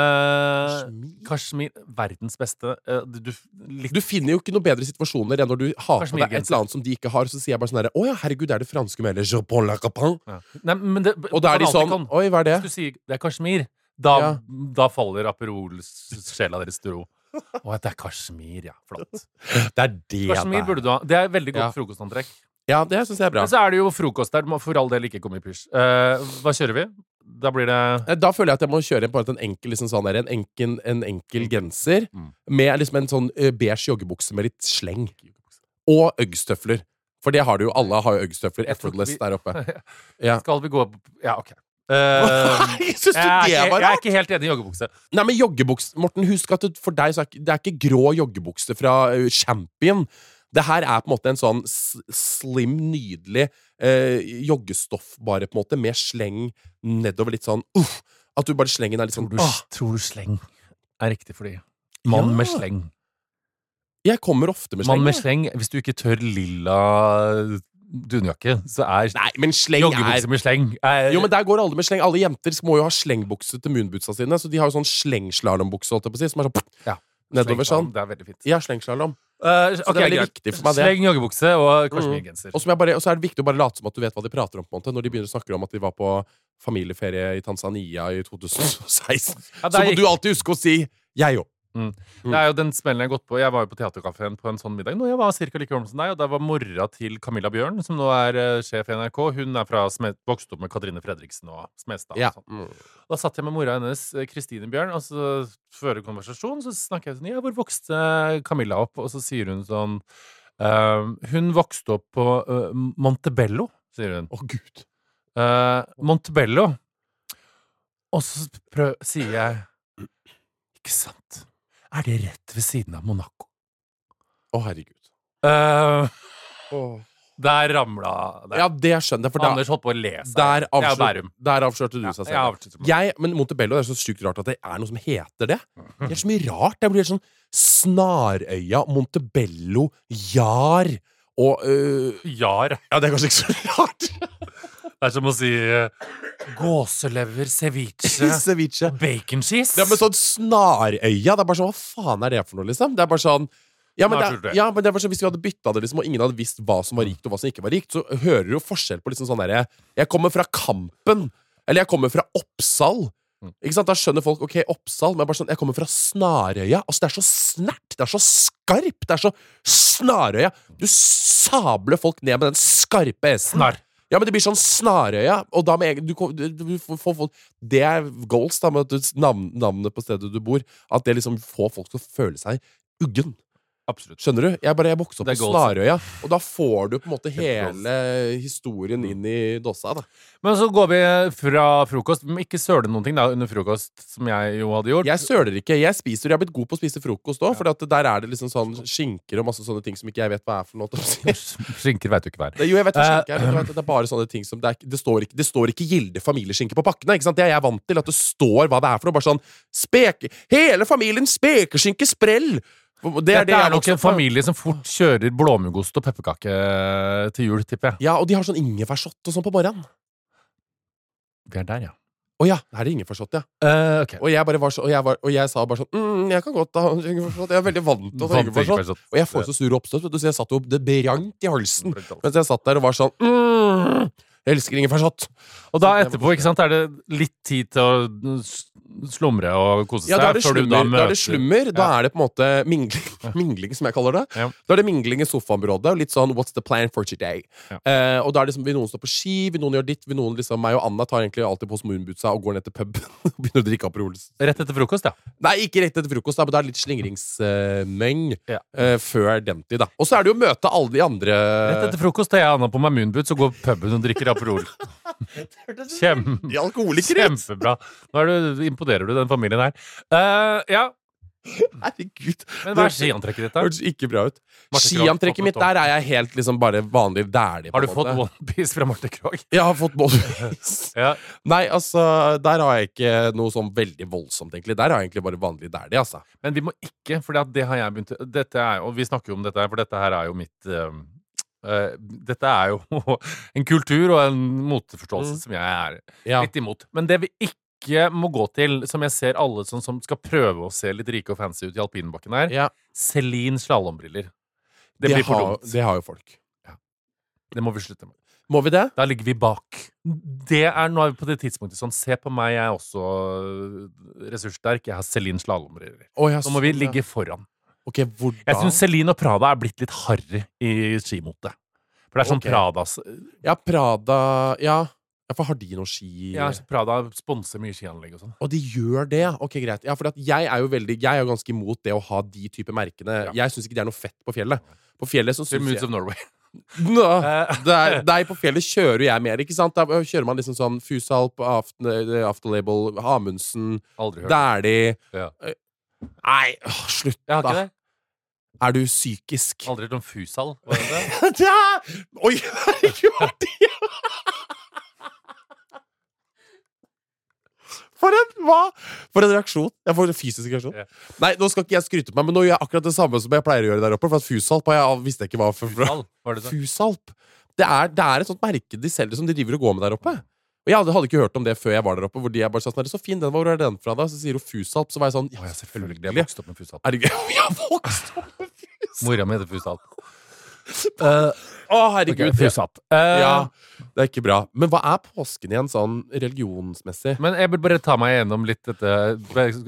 Speaker 2: Uh,
Speaker 3: Kashmir.
Speaker 2: Kashmir, verdens beste eh, du, du, litt,
Speaker 3: eh, Du finner jo ikke noe bedre situasjoner enn når du har på deg et
Speaker 2: Kashmirgenser.
Speaker 3: eller annet som de ikke har. Så sier jeg bare sånn herre Å ja, herregud, er det franske med eller «Je prends la capin?»
Speaker 2: ja. Nei, men det,
Speaker 3: Og da er de sånn
Speaker 2: Fanatikken,
Speaker 3: Oi, hva er det?
Speaker 2: Hvis du sier det er Kashmir, da,
Speaker 3: Ja.
Speaker 2: da faller Aperol-sjela deres til ro. Å, det er Kashmir, ja. Flott.
Speaker 3: Det er det
Speaker 2: Kashmir
Speaker 3: det er.
Speaker 2: burde du ha. Det er et veldig godt
Speaker 3: Ja.
Speaker 2: frokostantrekk.
Speaker 3: Ja, det syns jeg er bra.
Speaker 2: Men så er det jo frokost der. Du må for all del ikke komme i pysj. Eh, hva kjører vi? Da blir det
Speaker 3: Eh, Da føler jeg at jeg må kjøre inn på en enkel, liksom sånn der, en enkel, en enkel genser
Speaker 2: Mm.
Speaker 3: med liksom en sånn eh, beige joggebukse med litt sleng. Og Uggs-tøfler. For det har du jo. Alle har jo Uggs-tøfler.
Speaker 2: Jeg tror ikke
Speaker 3: Effortless
Speaker 2: vi-
Speaker 3: der oppe. Ja.
Speaker 2: Skal vi gå opp Ja, OK. Eh,
Speaker 3: Nei, syns du
Speaker 2: jeg, er ikke,
Speaker 3: det var
Speaker 2: jeg er
Speaker 3: rart?
Speaker 2: ikke helt enig i joggebukse.
Speaker 3: Nei, men joggebuks Morten, husk at det- for deg så er ikke, det er ikke grå joggebukse fra eh, Champion. Det her er på en måte en sånn s- slim, nydelig eh, joggestoff, bare, på en måte, med sleng nedover litt sånn uff, At du bare slengen er litt sånn
Speaker 2: Tror du,
Speaker 3: åh.
Speaker 2: tror du sleng er riktig for de? Mann med
Speaker 3: Ja.
Speaker 2: sleng.
Speaker 3: Jeg kommer ofte med sleng.
Speaker 2: Mann med
Speaker 3: jeg.
Speaker 2: sleng, hvis du ikke tør lilla dunjakke, så er
Speaker 3: Nei, men sleng er
Speaker 2: joggebukse med sleng er,
Speaker 3: Jo, men der går alle med sleng. Alle jenter må jo ha slengbukse til moonbootsa sine, så de har jo sånn slengslalåmbukse, holdt jeg på å si, som er sånn
Speaker 2: Ja.
Speaker 3: nedover
Speaker 2: sleng,
Speaker 3: sånn.
Speaker 2: Det er veldig fint.
Speaker 3: Ja, slengslalåm.
Speaker 2: Eh,
Speaker 3: Så
Speaker 2: ok,
Speaker 3: det er veldig
Speaker 2: greit.
Speaker 3: viktig for meg, det. Mm.
Speaker 2: Sleng, joggebukse og kasjmirgenser.
Speaker 3: Og, som jeg bare- og så er det viktig å bare late som at du vet hva de prater om, på en måte. Når de begynner å snakke om at de var på familieferie i Tanzania i 2016,
Speaker 2: Ja,
Speaker 3: så
Speaker 2: der
Speaker 3: må
Speaker 2: gikk-
Speaker 3: du alltid huske å si 'jeg òg'.
Speaker 2: Det er jo den smellen jeg har gått på. Jeg var jo på Theatercaféen på en sånn middag nå. Jeg var cirka like gammel som deg, og der var mora til Camilla Bjørn, som nå er eh, sjef i NRK. Hun er fra Smed, vokste opp med Katrine Fredriksen og Smestad.
Speaker 3: Ja.
Speaker 2: Og sånn. Da satt jeg med mora hennes, eh, Kristine Bjørn, og så fører konversasjon, så snakker jeg sånn, ja, hvor vokste Camilla opp? Og så sier hun sånn, «Ehm, hun vokste opp på eh, Montebello, sier hun.
Speaker 3: Å, gud.
Speaker 2: Eh, Montebello. Og så prøv, sier jeg, ikke sant, er det rett ved siden av Monaco?
Speaker 3: Å, herregud.
Speaker 2: Eh, der ramla det.
Speaker 3: Ja, det skjønner jeg, for da,
Speaker 2: Anders holdt på å le seg.
Speaker 3: der,
Speaker 2: Det er jo
Speaker 3: avslør,
Speaker 2: Bærum.
Speaker 3: der avslørte du
Speaker 2: Ja,
Speaker 3: seg selv.
Speaker 2: jeg avslutter med-
Speaker 3: Jeg, men Montebello det er så sykt rart at det er noe som heter det. Det er så mye rart. Det blir helt sånn Snarøya, Montebello, Jar og øh,
Speaker 2: Jar.
Speaker 3: Ja, det er kanskje ikke så rart.
Speaker 2: Det er som å si eh, gåselever, ceviche,
Speaker 3: Ceviche.
Speaker 2: bacon cheese.
Speaker 3: Det er med sånn Snarøya. Det er bare sånn, Hva faen er det for noe, liksom? Det er bare sånn Ja, men,
Speaker 2: Nei,
Speaker 3: det,
Speaker 2: skjønner du.
Speaker 3: ja, men det var sånn, Hvis vi hadde bytta det, liksom, og ingen hadde visst hva som var rikt, og hva som ikke var rikt, så hører du jo forskjell på liksom sånn derre Jeg kommer fra Kampen. Eller jeg kommer fra Oppsal.
Speaker 2: Mm.
Speaker 3: Ikke sant? Da skjønner folk ok, Oppsal, men jeg bare sånn, jeg kommer fra Snarøya. Altså, Det er så snert, det er så skarpt, det er så Snarøya. Du sabler folk ned med den skarpe S-en.
Speaker 2: Snarr.
Speaker 3: Ja, men det blir sånn Snarøya, og da med egen du, kom- du, du, får- får folk- Det er goals, da, med at du, navn, navnet på stedet du bor. At det liksom får folk til å føle seg uggen.
Speaker 2: Absolutt.
Speaker 3: Skjønner du? Jeg bare jeg vokste opp
Speaker 2: Det
Speaker 3: på
Speaker 2: er goals.
Speaker 3: Snarøya, og da får du på en måte
Speaker 2: er
Speaker 3: hele historien inn i dossa. da
Speaker 2: Men så går vi eh, fra frokost Men ikke søle noen ting da under frokost, som jeg jo hadde gjort.
Speaker 3: Jeg søler ikke. Jeg spiser, jeg har blitt god på å spise frokost òg, for der er det liksom sånn skinker og masse sånne ting som ikke jeg vet hva er for noe. holdt jeg på å si.
Speaker 2: Skinker veit du ikke hva er.
Speaker 3: Det, jo, jeg vet hva
Speaker 2: Eh,
Speaker 3: skinke er, men du vet, det er bare sånne ting som Det, er, ikke- det, står, ikke, det står ikke Gilde familieskinke på pakkene. Ikke sant? Det er jeg vant til. At det står hva det er for noe. Bare sånn speke, Hele familien spekeskinke sprell! Det er det
Speaker 2: Dette
Speaker 3: jeg
Speaker 2: er nok
Speaker 3: vokste
Speaker 2: en
Speaker 3: opp med.
Speaker 2: familie som fort kjører blåmuggost og pepperkake eh, til jul, tipper jeg.
Speaker 3: Ja, og de har sånn ingefærshot og sånn på morgenen.
Speaker 2: Vi er der, ja.
Speaker 3: Å ja, her er det ingefærshot, ja.
Speaker 2: Eh, ok.
Speaker 3: Og jeg, bare var så, og jeg, var, og jeg sa bare sånn mm, Jeg kan godt ha ingefærshot. Jeg sånn- er veldig vant til å ta
Speaker 2: Vant ikke
Speaker 3: ingefærshot.
Speaker 2: forstått.
Speaker 3: Og jeg får så sur oppstøt, vet du, så jeg satt jo Det brant i halsen
Speaker 2: Og
Speaker 3: mens jeg satt der og var sånn mm, Jeg elsker ingefærshot.
Speaker 2: da etterpå ikke sant, er det litt tid til å s- slumre og kose seg.
Speaker 3: Ja, da er det
Speaker 2: før du
Speaker 3: slummer. Da, er det
Speaker 2: møter-
Speaker 3: slummer. Da
Speaker 2: Ja.
Speaker 3: er det på en måte mingling, mingling som jeg kaller det.
Speaker 2: Ja.
Speaker 3: Da er det mingling i sofaområdet, og litt sånn 'what's the plan for today'?
Speaker 2: Ja.
Speaker 3: Eh, og da er det liksom, vil noen stå på ski, vil noen gjøre ditt, vil noen liksom Meg og Anna tar egentlig alltid på oss moonbootsa og går ned til puben og begynner å drikke Aperol.
Speaker 2: Rett etter frokost, ja.
Speaker 3: Nei, ikke rett etter frokost, da, men det er litt slingringsmeng eh,
Speaker 2: Ja.
Speaker 3: før den tid, da. Og så er det jo å møte alle de
Speaker 2: Rett
Speaker 3: andre
Speaker 2: etter frokost tar jeg Anna på meg moonboots og går på puben og drikker Aperol. Kjem,
Speaker 3: De alkoholikere!
Speaker 2: kjempebra. Nå er du, imponerer du den familien her. Eh, ja,
Speaker 3: Herregud.
Speaker 2: men hva er skiantrekket ditt,
Speaker 3: Det
Speaker 2: da?
Speaker 3: hørtes ikke bra ut.
Speaker 2: Marte Krogh,
Speaker 3: Skiantrekket
Speaker 2: fått
Speaker 3: mitt,
Speaker 2: noe tom.
Speaker 3: der er jeg helt liksom bare vanlig dælig. på
Speaker 2: Har du
Speaker 3: en
Speaker 2: fått
Speaker 3: måte.
Speaker 2: onepiece fra Marte Krogh?
Speaker 3: Jeg har fått både
Speaker 2: Ja.
Speaker 3: Nei, altså, der har jeg ikke noe sånn veldig voldsomt, egentlig. Der har jeg egentlig bare vanlig dælig, altså.
Speaker 2: Men vi må ikke, for det har jeg begynt dette er, Og vi snakker jo om dette her, for dette her er jo mitt eh, eh, Dette er jo en kultur og en moteforståelse
Speaker 3: Mm.
Speaker 2: som jeg er
Speaker 3: Ja.
Speaker 2: litt imot. Men det vi ikke må gå til, som jeg ser alle sånn, som skal prøve å se litt rike og fancy ut i alpinbakken her,
Speaker 3: Ja.
Speaker 2: Celine slalåmbriller. Det,
Speaker 3: Det,
Speaker 2: blir for
Speaker 3: har,
Speaker 2: dumt.
Speaker 3: det har jo folk.
Speaker 2: Det må vi slutte med.
Speaker 3: Må vi det?
Speaker 2: Da ligger vi bak. Det er, nå er vi på det tidspunktet sånn Se på meg, jeg er også øh, ressurssterk. Jeg har Celine slalåmbriller.
Speaker 3: Å, ja,
Speaker 2: Nå må vi
Speaker 3: sånn, ja.
Speaker 2: ligge foran.
Speaker 3: Ok, hvordan
Speaker 2: Jeg syns Celine og Prada er blitt litt harry i skimote. For det er sånn
Speaker 3: Ok.
Speaker 2: Pradas
Speaker 3: Ja, Prada Ja, Ja, for har de noe ski?
Speaker 2: ja, altså- Prada sponser mye skianlegg og sånn.
Speaker 3: Og de gjør det, ja. Ok, greit. Ja, for at jeg er jo veldig Jeg er jo ganske imot det å ha de type merkene.
Speaker 2: Ja.
Speaker 3: Jeg syns ikke det er noe fett på fjellet. På fjellet så
Speaker 2: Til
Speaker 3: syns
Speaker 2: Moods
Speaker 3: jeg
Speaker 2: of Norway.
Speaker 3: Nå.
Speaker 2: Eh,
Speaker 3: det er, nei, på fjellet kjører jeg mer, ikke sant? Da kjører man liksom sånn Fusalp, Aften- Afterlabel, Amundsen,
Speaker 2: aldri hørt.
Speaker 3: Dæhlie
Speaker 2: Ja.
Speaker 3: Eh, Nei, åh, slutt,
Speaker 2: Jeg har ikke
Speaker 3: da.
Speaker 2: det.
Speaker 3: Er du psykisk?
Speaker 2: Aldri hørt om Fusal. Hva er det?
Speaker 3: Det er- Oi, herregud! hva er det? For en, hva? For en reaksjon. Jeg får en fysisk reaksjon.
Speaker 2: Ja.
Speaker 3: Nei, Nå skal ikke jeg skryte på meg, men nå gjør jeg akkurat det samme som jeg pleier å gjøre der oppe. For at Fusalp har jeg, visste jeg ikke hva for, for,
Speaker 2: Fusal, var det det?
Speaker 3: Fusalp. Det er, det er et sånt merke de selger som de driver og går med der oppe. Og Jeg hadde, hadde ikke hørt om det før jeg var der oppe. Hvor de er bare sånn, «Nei, det er så fin den, Hvor er den fra, da? Så sier hun Fusalp. Så var jeg sånn
Speaker 2: Å
Speaker 3: Ja,
Speaker 2: ja, selvfølgelig. Jeg
Speaker 3: selvfølgelig.
Speaker 2: vokste opp med Fusal.
Speaker 3: Er det gøy? Jeg har vokst opp med Fusalp!
Speaker 2: Mora mi heter Fusal.
Speaker 3: Å,
Speaker 2: Ok,
Speaker 3: herregud. det-
Speaker 2: Fusal. Eh,
Speaker 3: Ja, det er ikke bra. Men hva er påsken igjen, sånn religionsmessig?
Speaker 2: Men jeg vil bare ta meg gjennom litt dette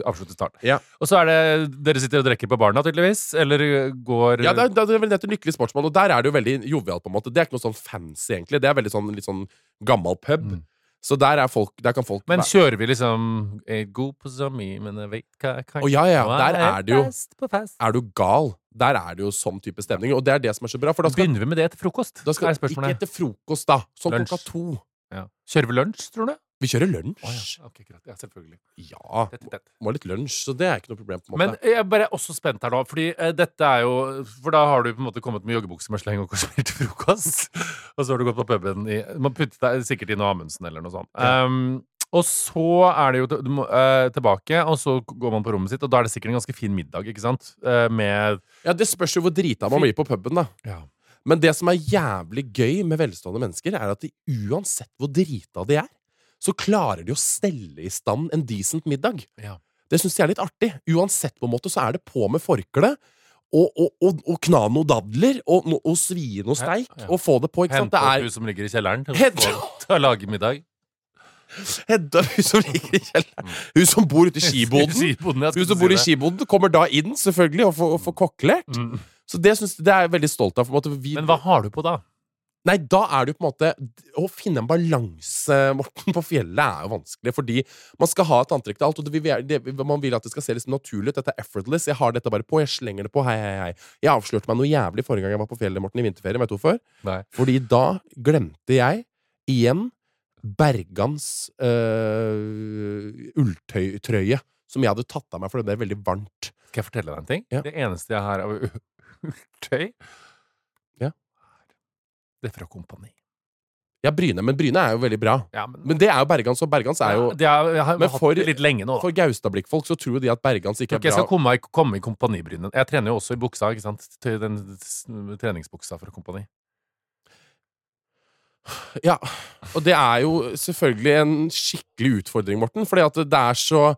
Speaker 2: avslutte start.
Speaker 3: Ja.
Speaker 2: Og så er det Dere sitter og drikker på barna, tydeligvis? Eller går
Speaker 3: Ja, det er, det er vel nettopp Lykkelig sportsmann, og der er det jo veldig jovialt, på en måte. Det er ikke noe sånn fancy, egentlig. Det er veldig sånn litt sånn gammel pub.
Speaker 2: Mm.
Speaker 3: Så der, er folk, der kan folk
Speaker 2: Men
Speaker 3: være
Speaker 2: kjører vi liksom Jeg er god på så mye, men jeg vet hva jeg kan
Speaker 3: Å ja, ja, ja.
Speaker 2: Nå
Speaker 3: Der
Speaker 2: jeg
Speaker 3: er det jo
Speaker 2: best på fest.
Speaker 3: er du gal? Der er det jo sånn type stemning, og det er det som er så bra. For da skal,
Speaker 2: Begynner vi med det etter frokost?
Speaker 3: da skal
Speaker 2: er
Speaker 3: ikke
Speaker 2: spørsmålet.
Speaker 3: etter frokost, da. Sånn
Speaker 2: Lunsj.
Speaker 3: klokka to.
Speaker 2: Ja. Kjører vi lunsj, tror du?
Speaker 3: Vi kjører lunsj.
Speaker 2: Å ja. Ok, greit. Ja, selvfølgelig.
Speaker 3: ja.
Speaker 2: Tett, tett, tett.
Speaker 3: Må ha litt lunsj, så det er ikke noe problem. på en
Speaker 2: Men
Speaker 3: måte
Speaker 2: jeg er bare også spent her nå, fordi eh, dette er jo For da har du på en måte kommet med joggebukse med sleng og kosmer til frokost. og så har du gått på puben i Man puttet deg sikkert i noe Amundsen eller noe sånt.
Speaker 3: Ja.
Speaker 2: Um, og så er det jo du må, eh, tilbake, og så går man på rommet sitt, og da er det sikkert en ganske fin middag, ikke sant? Eh, med
Speaker 3: Ja, Det spørs jo hvor drita man blir på puben, da.
Speaker 2: Ja.
Speaker 3: Men det som er jævlig gøy med velstående mennesker, er at de, uansett hvor drita de er, så klarer de å stelle i stand en decent middag.
Speaker 2: Ja.
Speaker 3: Det syns jeg er litt artig. Uansett på en måte så er det på med forkle. og, og, og, og kna noe dadler, og, no- og svie noe steik,
Speaker 2: Ja, ja.
Speaker 3: og få det på. ikke sant?
Speaker 2: Hente opp
Speaker 3: Det
Speaker 2: hun som ligger i kjelleren til å,
Speaker 3: Hent-
Speaker 2: få- til å lage middag.
Speaker 3: er Hedda, hun som ligger i
Speaker 2: Mm.
Speaker 3: kjelleren. Hun som bor ute i skiboden.
Speaker 2: Skiboden, jeg
Speaker 3: Hun
Speaker 2: skulle
Speaker 3: som
Speaker 2: si
Speaker 3: bor i
Speaker 2: det.
Speaker 3: skiboden, kommer da inn, selvfølgelig, og får, og får kokkelert.
Speaker 2: Mm.
Speaker 3: Så det, syns- det er jeg veldig stolt av. På en måte. Vi,
Speaker 2: Men hva har du på da?
Speaker 3: Nei, da er det jo på en måte Å finne en balanse, Morten, på fjellet er jo vanskelig. Fordi man skal ha et antrekk til alt, og det, vil være- det, man vil at det skal se liksom naturlig ut. Dette er effortless. Jeg har dette bare på. Jeg slenger det på. Hei, hei, hei. Jeg avslørte meg noe jævlig forrige gang jeg var på fjellet, Morten, i vinterferien. Vet du hvorfor?
Speaker 2: Nei.
Speaker 3: Fordi da glemte jeg igjen Bergans øh, ulltrøye. Som jeg hadde tatt av meg, for det er veldig varmt.
Speaker 2: Skal jeg fortelle deg en ting?
Speaker 3: Ja.
Speaker 2: Det eneste jeg har av ulltøy
Speaker 3: Ja.
Speaker 2: Det er fra Kompani.
Speaker 3: Ja, Bryne, men Bryne er jo veldig bra.
Speaker 2: Ja, men,
Speaker 3: Men det er jo Bergans, og Bergans er jo
Speaker 2: Ja, det er, jeg har
Speaker 3: Men
Speaker 2: hatt
Speaker 3: for-
Speaker 2: det litt lenge nå, da.
Speaker 3: For Gaustablikk-folk så tror jo de at Bergans ikke
Speaker 2: Tror
Speaker 3: er
Speaker 2: ikke jeg
Speaker 3: bra.
Speaker 2: skal komme, i- komme i kompanibrynen. Jeg trener jo også i buksa, ikke sant? Til Den s- treningsbuksa fra kompani.
Speaker 3: Ja, og det er jo selvfølgelig en skikkelig utfordring, Morten. Fordi at det er så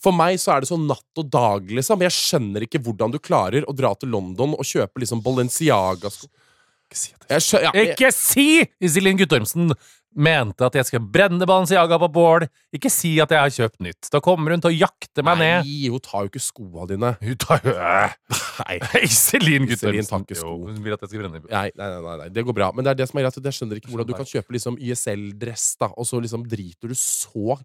Speaker 3: For meg så er det så natt og dag, liksom. Jeg skjønner ikke hvordan du klarer å dra til London og kjøpe liksom Balenciaga-sko.
Speaker 2: Ikke si at jeg-
Speaker 3: Jeg skjø- ja, jeg-
Speaker 2: Ikke si! Iselin Guttormsen mente at jeg skal brenne Balenciaga på bål. Ikke si at jeg har kjøpt nytt. Da kommer hun til å jakte meg ned.
Speaker 3: Nei, hun tar jo ikke skoa dine.
Speaker 2: Hun tar jo
Speaker 3: Nei.
Speaker 2: Iselin
Speaker 3: Iselin tar
Speaker 2: Guttormsen.
Speaker 3: ikke sko.
Speaker 2: Jo, Hun vil at jeg skal brenne
Speaker 3: Nei, nei, nei, nei, nei, det går bra. Men det er det som er greit. at Jeg skjønner ikke hvordan du kan kjøpe liksom YSL-dress, da, og så liksom driter du så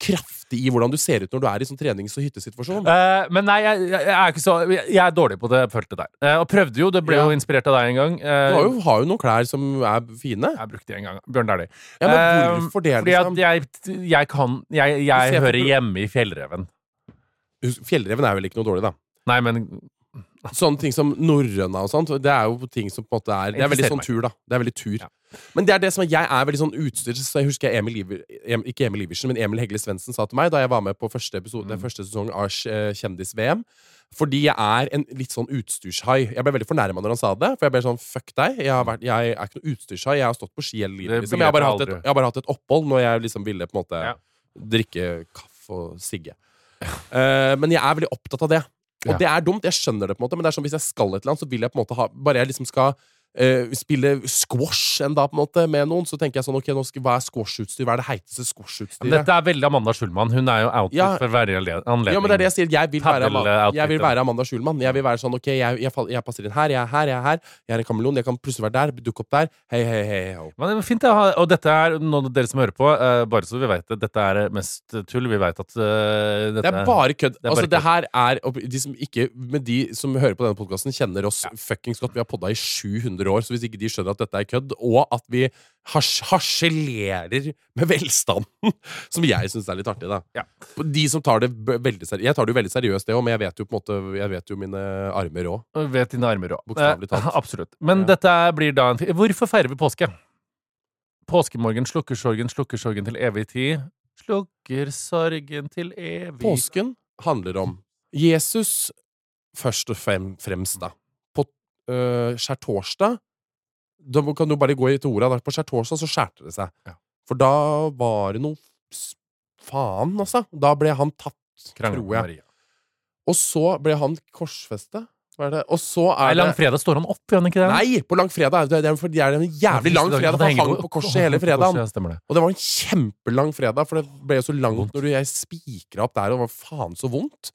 Speaker 3: kraftig i hvordan du ser ut når du er i sånn trenings- og hyttesituasjon.
Speaker 2: Eh, men nei, jeg, jeg, jeg er ikke så Jeg jeg er dårlig på det feltet der. Eh, og prøvde jo, det ble
Speaker 3: Ja.
Speaker 2: jo inspirert av deg en gang. Eh,
Speaker 3: Du har jo, har jo noen klær som er fine.
Speaker 2: Jeg brukte det en gang. Bjørn Dæhlie. Eh,
Speaker 3: Ja, men hvorfor det,
Speaker 2: Ehm, Fordi at
Speaker 3: liksom?
Speaker 2: jeg, jeg kan Jeg,
Speaker 3: Du ser
Speaker 2: jeg
Speaker 3: på
Speaker 2: hører
Speaker 3: pro-
Speaker 2: hjemme i Fjellreven.
Speaker 3: Husk, Fjellreven er vel ikke noe dårlig, da.
Speaker 2: Nei, men
Speaker 3: Sånne ting som norrøna og sånt, det er jo ting som på en måte er Det er veldig
Speaker 2: Interesserer
Speaker 3: sånn
Speaker 2: meg.
Speaker 3: tur, da. Det er veldig tur.
Speaker 2: Ja.
Speaker 3: Men det er det som er, jeg er veldig sånn utstyrs... Så jeg husker jeg Emil Iver, em, ikke Emil Iversen, men Emil Hegle Svendsen sa til meg da jeg var med på første, episode,
Speaker 2: Mm.
Speaker 3: den første sesong av eh, Kjendis-VM. Fordi jeg er en litt sånn utstyrshai. Jeg ble veldig fornærma når han sa det. For jeg ble sånn fuck deg. Jeg, har vært, jeg er ikke noe utstyrshai. Jeg har stått på ski hele livet.
Speaker 2: Det
Speaker 3: Liksom. Jeg, har bare hatt
Speaker 2: blir
Speaker 3: et,
Speaker 2: jeg aldri.
Speaker 3: jeg har bare hatt et opphold når jeg liksom ville på en måte
Speaker 2: Ja.
Speaker 3: drikke kaffe og sigge. Eh, men jeg er veldig opptatt av det. Og
Speaker 2: Ja.
Speaker 3: det er dumt, jeg skjønner det, på en måte men det er sånn hvis jeg skal et eller annet, så vil jeg på en måte ha Bare jeg liksom skal eh, spille squash en dag på en måte med noen, så tenker jeg sånn Ok, nå skal, hva er squashutstyr? Hva er det heiteste
Speaker 2: men
Speaker 3: squashutstyret?
Speaker 2: dette er veldig Amanda Schulman. Hun er jo outfit
Speaker 3: Ja.
Speaker 2: for hver anle- anledning.
Speaker 3: Ja, men det er det jeg sier. Jeg vil være, Ama-
Speaker 2: Padel-outfit,
Speaker 3: jeg vil
Speaker 2: da.
Speaker 3: være Amanda Schulman. Jeg vil være sånn Ok, jeg, jeg, fall- jeg passer inn her, jeg er her, jeg er her. Jeg er en kameleon. Jeg kan plutselig være der, dukke opp der. Hei, hei, hei. hei.
Speaker 2: Men det er fint, ja. og dette er nå dere som hører på, eh, bare så vi vet det, dette er mest tull. Vi vet at eh, dette
Speaker 3: Det er bare
Speaker 2: er
Speaker 3: kødd.
Speaker 2: bare
Speaker 3: altså,
Speaker 2: kødd.
Speaker 3: det her er og De som ikke Men de som hører på denne podkasten, kjenner oss fuckings godt. Vi har podda i 700 år, så hvis ikke de skjønner at dette er kødd, og at vi hars harselerer med velstanden, som jeg syns er litt artig, da.
Speaker 2: Ja.
Speaker 3: De som tar det b- veldig seriøst Jeg tar det jo veldig seriøst, det òg, men jeg vet jo på en måte Jeg vet jo mine armer òg.
Speaker 2: Vet dine armer òg.
Speaker 3: Bokstavelig talt.
Speaker 2: absolutt. Men
Speaker 3: Ja.
Speaker 2: dette blir da en fi- Hvorfor feirer vi påske? Påskemorgen slukker sorgen, slukker sorgen til evig tid. Slukker sorgen til evig
Speaker 3: Påsken handler om Jesus først og frem, fremst, da. På øh, skjærtorsdag Da må- kan du bare gå i til orda. da. På skjærtorsdag så skjærte det seg.
Speaker 2: Ja.
Speaker 3: For da var det noe s- Faen, altså. Da ble han tatt,
Speaker 2: Krangel med
Speaker 3: tror jeg.
Speaker 2: Maria.
Speaker 3: Og så ble han korsfesta. Hva er det? Og så
Speaker 2: Nei,
Speaker 3: er det
Speaker 2: langfredag står han opp, gjør han ikke det?
Speaker 3: Nei! På langfredag. Det er, det er, det er en jævlig lang fredag. for Han hang på korset hele fredagen.
Speaker 2: Ja, stemmer det.
Speaker 3: Og det var en kjempelang fredag, for det ble jo så langt når du- jeg spikra opp der, og det var faen så vondt.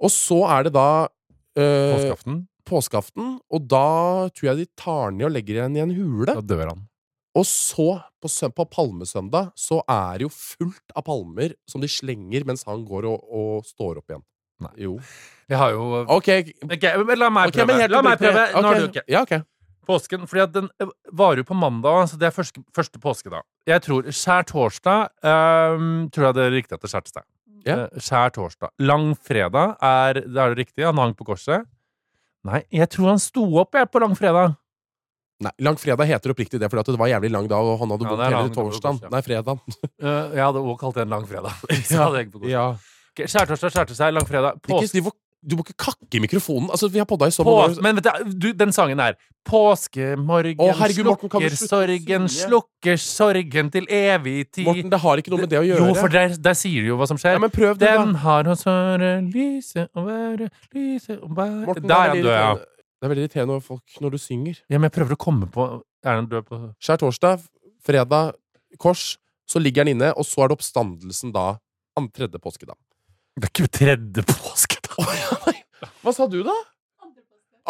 Speaker 3: Og så er det da øh,
Speaker 2: Påskeaften,
Speaker 3: påskeaften, og da tror jeg de tar ned og legger henne i en hule.
Speaker 2: da dør han.
Speaker 3: Og så, på, sø- på palmesøndag, så er det jo fullt av palmer som de slenger mens han går og, og står opp igjen.
Speaker 2: Nei.
Speaker 3: Jo.
Speaker 2: Jeg har jo
Speaker 3: Ok,
Speaker 2: Ok, men La meg
Speaker 3: ok,
Speaker 2: prøve.
Speaker 3: men helt
Speaker 2: la meg
Speaker 3: oppriktig.
Speaker 2: prøve. Nå
Speaker 3: Ok,
Speaker 2: har du ikke.
Speaker 3: Ja, ok.
Speaker 2: Påsken, fordi at den eh, varer jo på mandag, så det er første, første påske da. Jeg tror skjær torsdag ehm, Tror jeg det er riktig at det skjærte seg.
Speaker 3: Ja.
Speaker 2: Eh, Skjær torsdag. Langfredag er det er det riktig. Han hang på korset. Nei, jeg tror han sto opp jeg, på langfredag.
Speaker 3: Nei, Langfredag heter oppriktig det, fordi at det var en jævlig lang dag, og han hadde
Speaker 2: Ja,
Speaker 3: vondt
Speaker 2: det er
Speaker 3: hele
Speaker 2: lang dag,
Speaker 3: torsdagen.
Speaker 2: ja.
Speaker 3: Nei, fredagen.
Speaker 2: Eh, jeg hadde også kalt det en langfredag. Så hadde jeg ikke på korset.
Speaker 3: Ja.
Speaker 2: Ok, Skjærtorsdag skjærte seg. Langfredag.
Speaker 3: Ikke
Speaker 2: Påske
Speaker 3: sniv og Du må ikke kakke i mikrofonen. Altså, vi har podda i så
Speaker 2: På,
Speaker 3: mange år.
Speaker 2: men vet du, du, den sangen er Påskemorgen
Speaker 3: Å, herregud, Morten, kan du
Speaker 2: slukker
Speaker 3: slutte å
Speaker 2: sorgen,
Speaker 3: synge?
Speaker 2: slukker sorgen til evig tid.
Speaker 3: Morten, det har ikke noe med det å gjøre.
Speaker 2: Jo, for der, der sier du jo hva som skjer.
Speaker 3: ja, men prøv det,
Speaker 2: Den
Speaker 3: da.
Speaker 2: har hos øret lyset og været, lyset og været
Speaker 3: Morten,
Speaker 2: Der er han
Speaker 3: det, er veldig
Speaker 2: død, ja.
Speaker 3: irriterende. det er veldig irriterende over folk når du synger.
Speaker 2: ja. Men jeg prøver å komme på Er han død på
Speaker 3: Skjær torsdag, fredag, kors. Så ligger han inne, og så er det oppstandelsen da. An tredje påskedag.
Speaker 2: Det er ikke tredje påskedag!
Speaker 3: Hva sa du, da?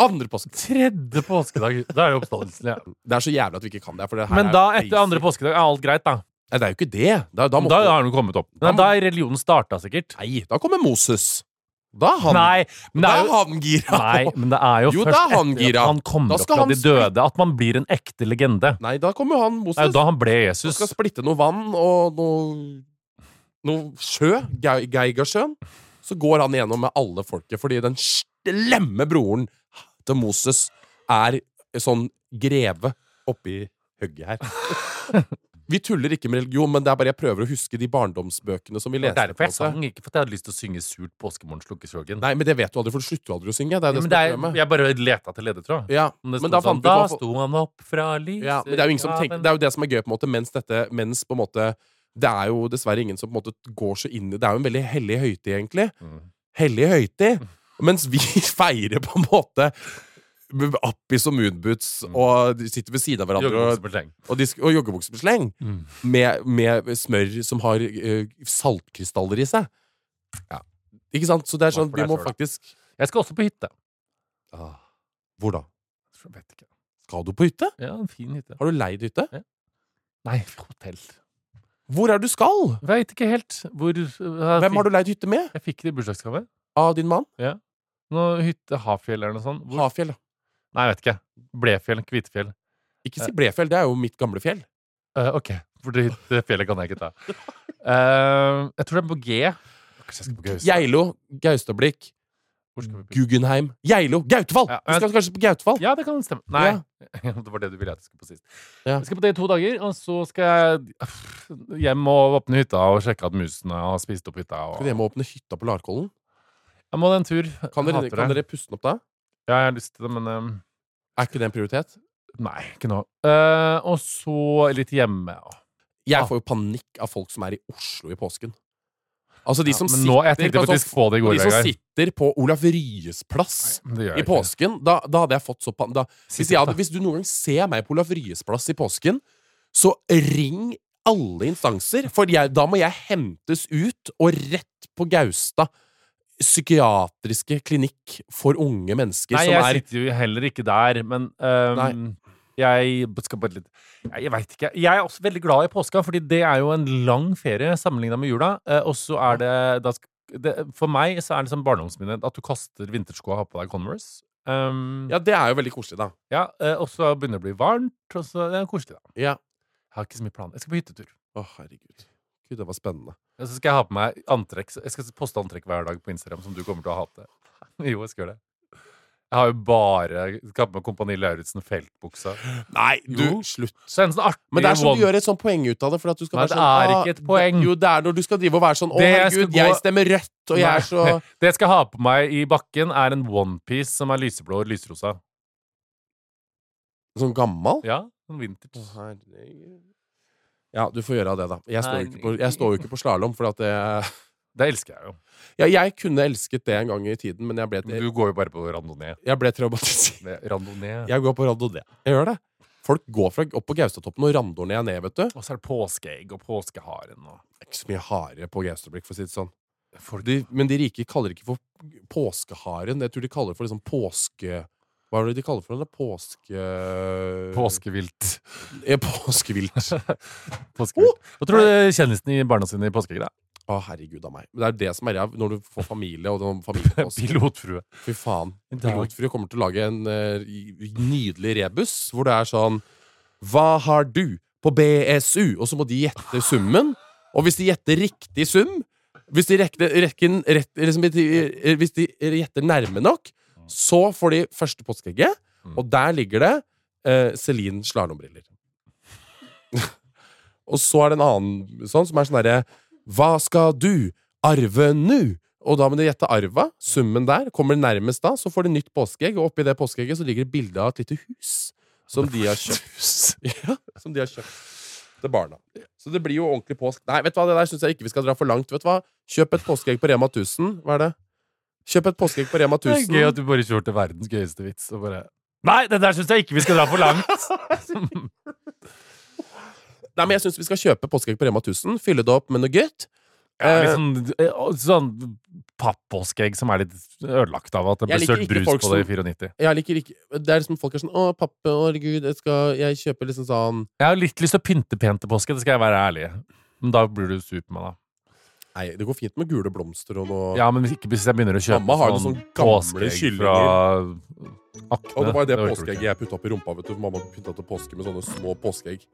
Speaker 3: Andre påske.
Speaker 2: Tredje påskedag! Da er det oppstandelsen, ja.
Speaker 3: Det er så jævlig at vi ikke kan det. For det her
Speaker 2: Men
Speaker 3: er
Speaker 2: da,
Speaker 3: crazy.
Speaker 2: etter andre påskedag, er alt greit, da.
Speaker 3: Nei, det er jo ikke det. Da, da,
Speaker 2: Da,
Speaker 3: måtte...
Speaker 2: har den jo kommet opp. Nei,
Speaker 3: Da må-
Speaker 2: da er religionen starta, sikkert.
Speaker 3: Nei, da kommer Moses. Da er han,
Speaker 2: Nei, men det
Speaker 3: da
Speaker 2: er
Speaker 3: er
Speaker 2: jo
Speaker 3: han gira.
Speaker 2: Nei, men det er jo,
Speaker 3: Jo,
Speaker 2: først
Speaker 3: da er han
Speaker 2: etter
Speaker 3: gira.
Speaker 2: at han
Speaker 3: Da
Speaker 2: kommer opp
Speaker 3: skal
Speaker 2: fra
Speaker 3: han
Speaker 2: de døde, at man blir en ekte legende.
Speaker 3: Nei, da kommer jo han Moses.
Speaker 2: Det er jo da han ble
Speaker 3: Han
Speaker 2: Jesus.
Speaker 3: skal splitte noe vann og noe, noe sjø, Ge- Geigersjøen. Så går han igjennom med alle folket, fordi den slemme broren til Moses er sånn greve oppi høgget her. Vi tuller ikke med religion, men det er bare jeg prøver å huske de barndomsbøkene som vi
Speaker 2: Det er
Speaker 3: leste. på
Speaker 2: Derfor
Speaker 3: en
Speaker 2: jeg
Speaker 3: måte.
Speaker 2: sang ikke for at jeg hadde lyst til å synge surt 'Påskemorgen slukker sorgen'.
Speaker 3: Nei, men det vet du aldri, for du slutter jo aldri å synge. Det er jo
Speaker 2: Men
Speaker 3: det
Speaker 2: det
Speaker 3: som er
Speaker 2: er,
Speaker 3: problemet.
Speaker 2: jeg bare leta til ledetråd.
Speaker 3: Ja,
Speaker 2: Om det sto
Speaker 3: men da
Speaker 2: sånn,
Speaker 3: fant vi ut
Speaker 2: da
Speaker 3: hva-
Speaker 2: sto han opp fra lyset
Speaker 3: Ja, men det er jo ingen som tenker Det er jo det som er gøy, på en måte, mens dette Mens på en måte Det er jo dessverre ingen som på en måte går så inn i Det er jo en veldig hellig høytid, egentlig.
Speaker 2: Mm.
Speaker 3: Hellig høytid. Mens vi feirer på en måte med Appis og moonboots og de sitter ved siden av hverandre og,
Speaker 2: Joggebuksebesleng.
Speaker 3: og, disk- og joggebukser med sleng.
Speaker 2: Mm.
Speaker 3: Med, med smør som har eh, saltkrystaller i seg. Ja. Ikke sant? Så det er sånn
Speaker 2: Smak for
Speaker 3: Vi
Speaker 2: deg
Speaker 3: må
Speaker 2: selv, da.
Speaker 3: faktisk
Speaker 2: Jeg skal også på hytte.
Speaker 3: ah, Hvor da?
Speaker 2: Jeg Vet ikke.
Speaker 3: Skal du på hytte?
Speaker 2: Ja, en fin hytte.
Speaker 3: Har du leid hytte?
Speaker 2: Nei, hotell.
Speaker 3: Hvor er det du skal?
Speaker 2: Veit ikke helt hvor eh,
Speaker 3: Hvem har du leid hytte med?
Speaker 2: Jeg fikk det i bursdagsgave.
Speaker 3: Av din mann?
Speaker 2: Noe hytte Hafjell eller noe sånt. Hvor?
Speaker 3: Hafjell.
Speaker 2: Nei, jeg vet ikke. Blefjell. Kvitefjell.
Speaker 3: Ikke si Blefjell, det er jo mitt gamle fjell.
Speaker 2: Eh, ok, for det, det fjellet kan jeg ikke ta. Eh, jeg tror det er på G. Kanskje jeg skal på Gaus.
Speaker 3: Geilo, Gaustablikk,
Speaker 2: Hvor skal vi på?
Speaker 3: Guggenheim Geilo! Gautefall!
Speaker 2: Ja,
Speaker 3: Vi skal kanskje på Gautefall?
Speaker 2: Ja, det kan stemme. Nei, det var det du ville at jeg skulle på sist.
Speaker 3: Ja.
Speaker 2: Jeg skal på det i to dager, og så skal jeg hjem og åpne hytta og sjekke at musene har spist opp hytta.
Speaker 3: Skal
Speaker 2: Og...
Speaker 3: dere hjem og åpne hytta på Larkollen?
Speaker 2: Jeg må ha en tur.
Speaker 3: Kan dere,
Speaker 2: Hater
Speaker 3: kan
Speaker 2: det.
Speaker 3: dere puste den opp da?
Speaker 2: Ja, jeg har lyst til det, men eh,
Speaker 3: Er ikke det en prioritet?
Speaker 2: Nei, ikke nå. Eh, og så litt hjemme. og-
Speaker 3: Jeg
Speaker 2: Ah.
Speaker 3: får jo panikk av folk som er i Oslo i påsken. Altså de
Speaker 2: Ja,
Speaker 3: som
Speaker 2: men
Speaker 3: sitter
Speaker 2: nå, Jeg tenkte
Speaker 3: på sånn-
Speaker 2: faktisk på det i går,
Speaker 3: De som
Speaker 2: Vegard.
Speaker 3: sitter på Olaf Ryes plass
Speaker 2: Nei, det gjør
Speaker 3: i
Speaker 2: jeg ikke.
Speaker 3: påsken, da, da hadde jeg fått så pan... Da,
Speaker 2: Sitt
Speaker 3: hvis, jeg
Speaker 2: opp,
Speaker 3: hadde,
Speaker 2: da.
Speaker 3: hvis du noen gang ser meg på Olaf Ryes plass i påsken, så ring alle instanser, for jeg, da må jeg hentes ut og rett på Gaustad psykiatriske klinikk for unge mennesker
Speaker 2: Nei,
Speaker 3: som
Speaker 2: jeg
Speaker 3: er
Speaker 2: sitter jo heller ikke der, men ehm, jeg skal bare litt Nei, Jeg veit ikke. Jeg er også veldig glad i påska, fordi det er jo en lang ferie sammenligna med jula. eh, og så er det, da, sk- det For meg så er det sånn barndomsminne at du kaster vinterskoa og har på deg Converse. Ehm, ja,
Speaker 3: Ja, det er jo veldig koselig, da.
Speaker 2: eh, Og så begynner det å bli varmt, og så det er koselig, da.
Speaker 3: Ja.
Speaker 2: Jeg har ikke så mye planer. Jeg skal på hyttetur.
Speaker 3: Å, herregud. Gud, det var spennende.
Speaker 2: Og så skal jeg ha på meg antrekk. så Jeg skal poste antrekk hver dag på Instagram som du kommer til å hate. Jo, jeg skal gjøre det. Jeg har jo bare jeg skal ha på meg Kompani Lauritzen-feltbuksa.
Speaker 3: Nei, du,
Speaker 2: Jo.
Speaker 3: slutt.
Speaker 2: Så er det en sånn artig
Speaker 3: Men det er sånn du
Speaker 2: one-
Speaker 3: gjør et sånn poeng ut av det. For at du skal
Speaker 2: Nei,
Speaker 3: være
Speaker 2: det
Speaker 3: sånn,
Speaker 2: er
Speaker 3: «Ah,
Speaker 2: ikke et poeng.»
Speaker 3: det- Jo, det er når du skal drive og være sånn Å,
Speaker 2: Det jeg
Speaker 3: herregud,
Speaker 2: skal
Speaker 3: jeg
Speaker 2: gå-
Speaker 3: stemmer rødt, og jeg er så
Speaker 2: Nei. Det jeg skal ha på meg i bakken, er en onepiece som er lyseblå og lyserosa.
Speaker 3: Sånn gammal.
Speaker 2: Ja, en vintage.
Speaker 3: Herregud. Ja, du får gjøre av det, da. Jeg står jo ikke på, jeg
Speaker 2: Herregud.
Speaker 3: står jo ikke på slalåm, for at det
Speaker 2: Det elsker jeg jo.
Speaker 3: ja, Jeg kunne elsket det en gang i tiden, men jeg ble,
Speaker 2: Men du går jo bare på randonee.
Speaker 3: jeg ble traumatisert.
Speaker 2: Det- Randonee.
Speaker 3: Jeg går på randonee. Jeg gjør det. Folk går fra, opp på Gaustatoppen og randonee ned, vet du.
Speaker 2: Og så er det påskeegg og påskeharen og
Speaker 3: Det er ikke så mye hare på Gaustablikk, for å si det sånn. De, men de rike kaller det ikke for påskeharen. Jeg tror de kaller det for liksom påske... Hva er det de kaller for det? Påske...
Speaker 2: Påskevilt.
Speaker 3: Eh, Påskevilt.
Speaker 2: Påskevilt. Hva tror du kjendisene i barna sine i påskeegg, da?
Speaker 3: Å, herregud av meg. Men Det er det som er ræv når du får familie og noen familiepåske.
Speaker 2: Pilotfrue.
Speaker 3: Fy faen.
Speaker 2: I dag.
Speaker 3: Pilotfrue kommer til å lage en eh, i- nydelig rebus hvor det er sånn Hva har du på BSU? Og så må de gjette summen. Og hvis de gjetter riktig sum Hvis de rekker, rekker en rett, liksom, eh, Hvis de gjetter nærme nok, så får de første påskeegget,
Speaker 2: Mm.
Speaker 3: og der ligger det eh, Celine slalåmbriller. og så er det en annen sånn som er sånn herre Hva skal du arve nu? Og da må dere gjette arva. Summen der. Kommer det nærmest da, så får dere nytt påskeegg, og oppi det påskeegget så ligger det bilde av et lite hus som de har kjøpt. Ja, som de har kjøpt til barna. Så det blir jo ordentlig påsk. Nei, vet du hva, det der syns jeg ikke vi skal dra for langt. Vet du hva? Kjøp et påskeegg på Rema 1000. Hva er det? Kjøp et påskeegg på Rema
Speaker 2: Det er
Speaker 3: 1000.
Speaker 2: gøy at du bare kjørte verdens gøyeste vits og bare Nei, det der syns jeg ikke vi skal dra for langt!
Speaker 3: Nei, men jeg syns vi skal kjøpe påskeegg på Rema 1000, fylle det opp med noe godt.
Speaker 2: Ja, litt
Speaker 3: liksom-
Speaker 2: sånn eh, sånn pappåskeegg som er litt ødelagt av at det ble
Speaker 3: Jeg liker
Speaker 2: sølt
Speaker 3: ikke
Speaker 2: brus
Speaker 3: folk
Speaker 2: på det i
Speaker 3: som-
Speaker 2: 94.
Speaker 3: Jeg liker ikke Det er liksom folk er sånn Å, pappa, herregud, jeg skal Jeg kjøper liksom sånn
Speaker 2: Jeg har litt lyst til å pynte pent til påske, det skal jeg være ærlig. Men da blir du Supermann, da.
Speaker 3: Nei, det går fint med gule blomster og noe
Speaker 2: Ja, men hvis ikke hvis jeg begynner å kjøpe
Speaker 3: Mamma har jo sånn gamle
Speaker 2: påskeegg fra Akne.
Speaker 3: Og det var jo det
Speaker 2: orker du
Speaker 3: påskeegget jeg putta opp i rumpa. vet du for Mamma pynta til påske med sånne små påskeegg.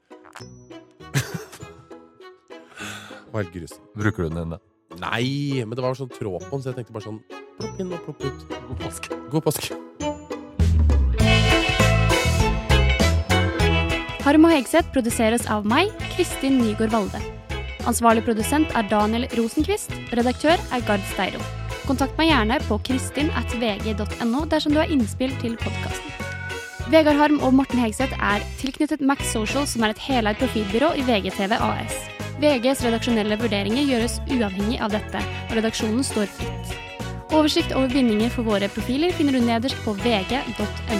Speaker 3: Det var helt grusomt.
Speaker 2: ikke. Bruker du den ennå?
Speaker 3: Nei, men det var sånn tråd på den, så jeg tenkte bare sånn Plopp inn og plopp ut. God påske.
Speaker 4: Harm og Hegseth produseres av meg, Kristin Nygaard Valde. Ansvarlig produsent er Daniel Rosenquist. Redaktør er Gard Steiro. Kontakt meg gjerne på kristin at vg.no dersom du har innspill til podkasten. Vegard Harm og Morten Hegseth er tilknyttet Max Social, som er et heleid profilbyrå i VGTV AS. VGs redaksjonelle vurderinger gjøres uavhengig av dette, og redaksjonen står fritt. Oversikt over bindinger for våre profiler finner du nederst på vg.no.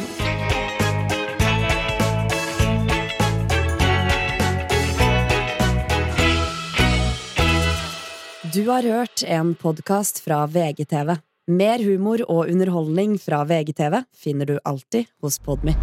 Speaker 1: Du har hørt en podkast fra VGTV. Mer humor og underholdning fra VGTV finner du alltid hos Podmy.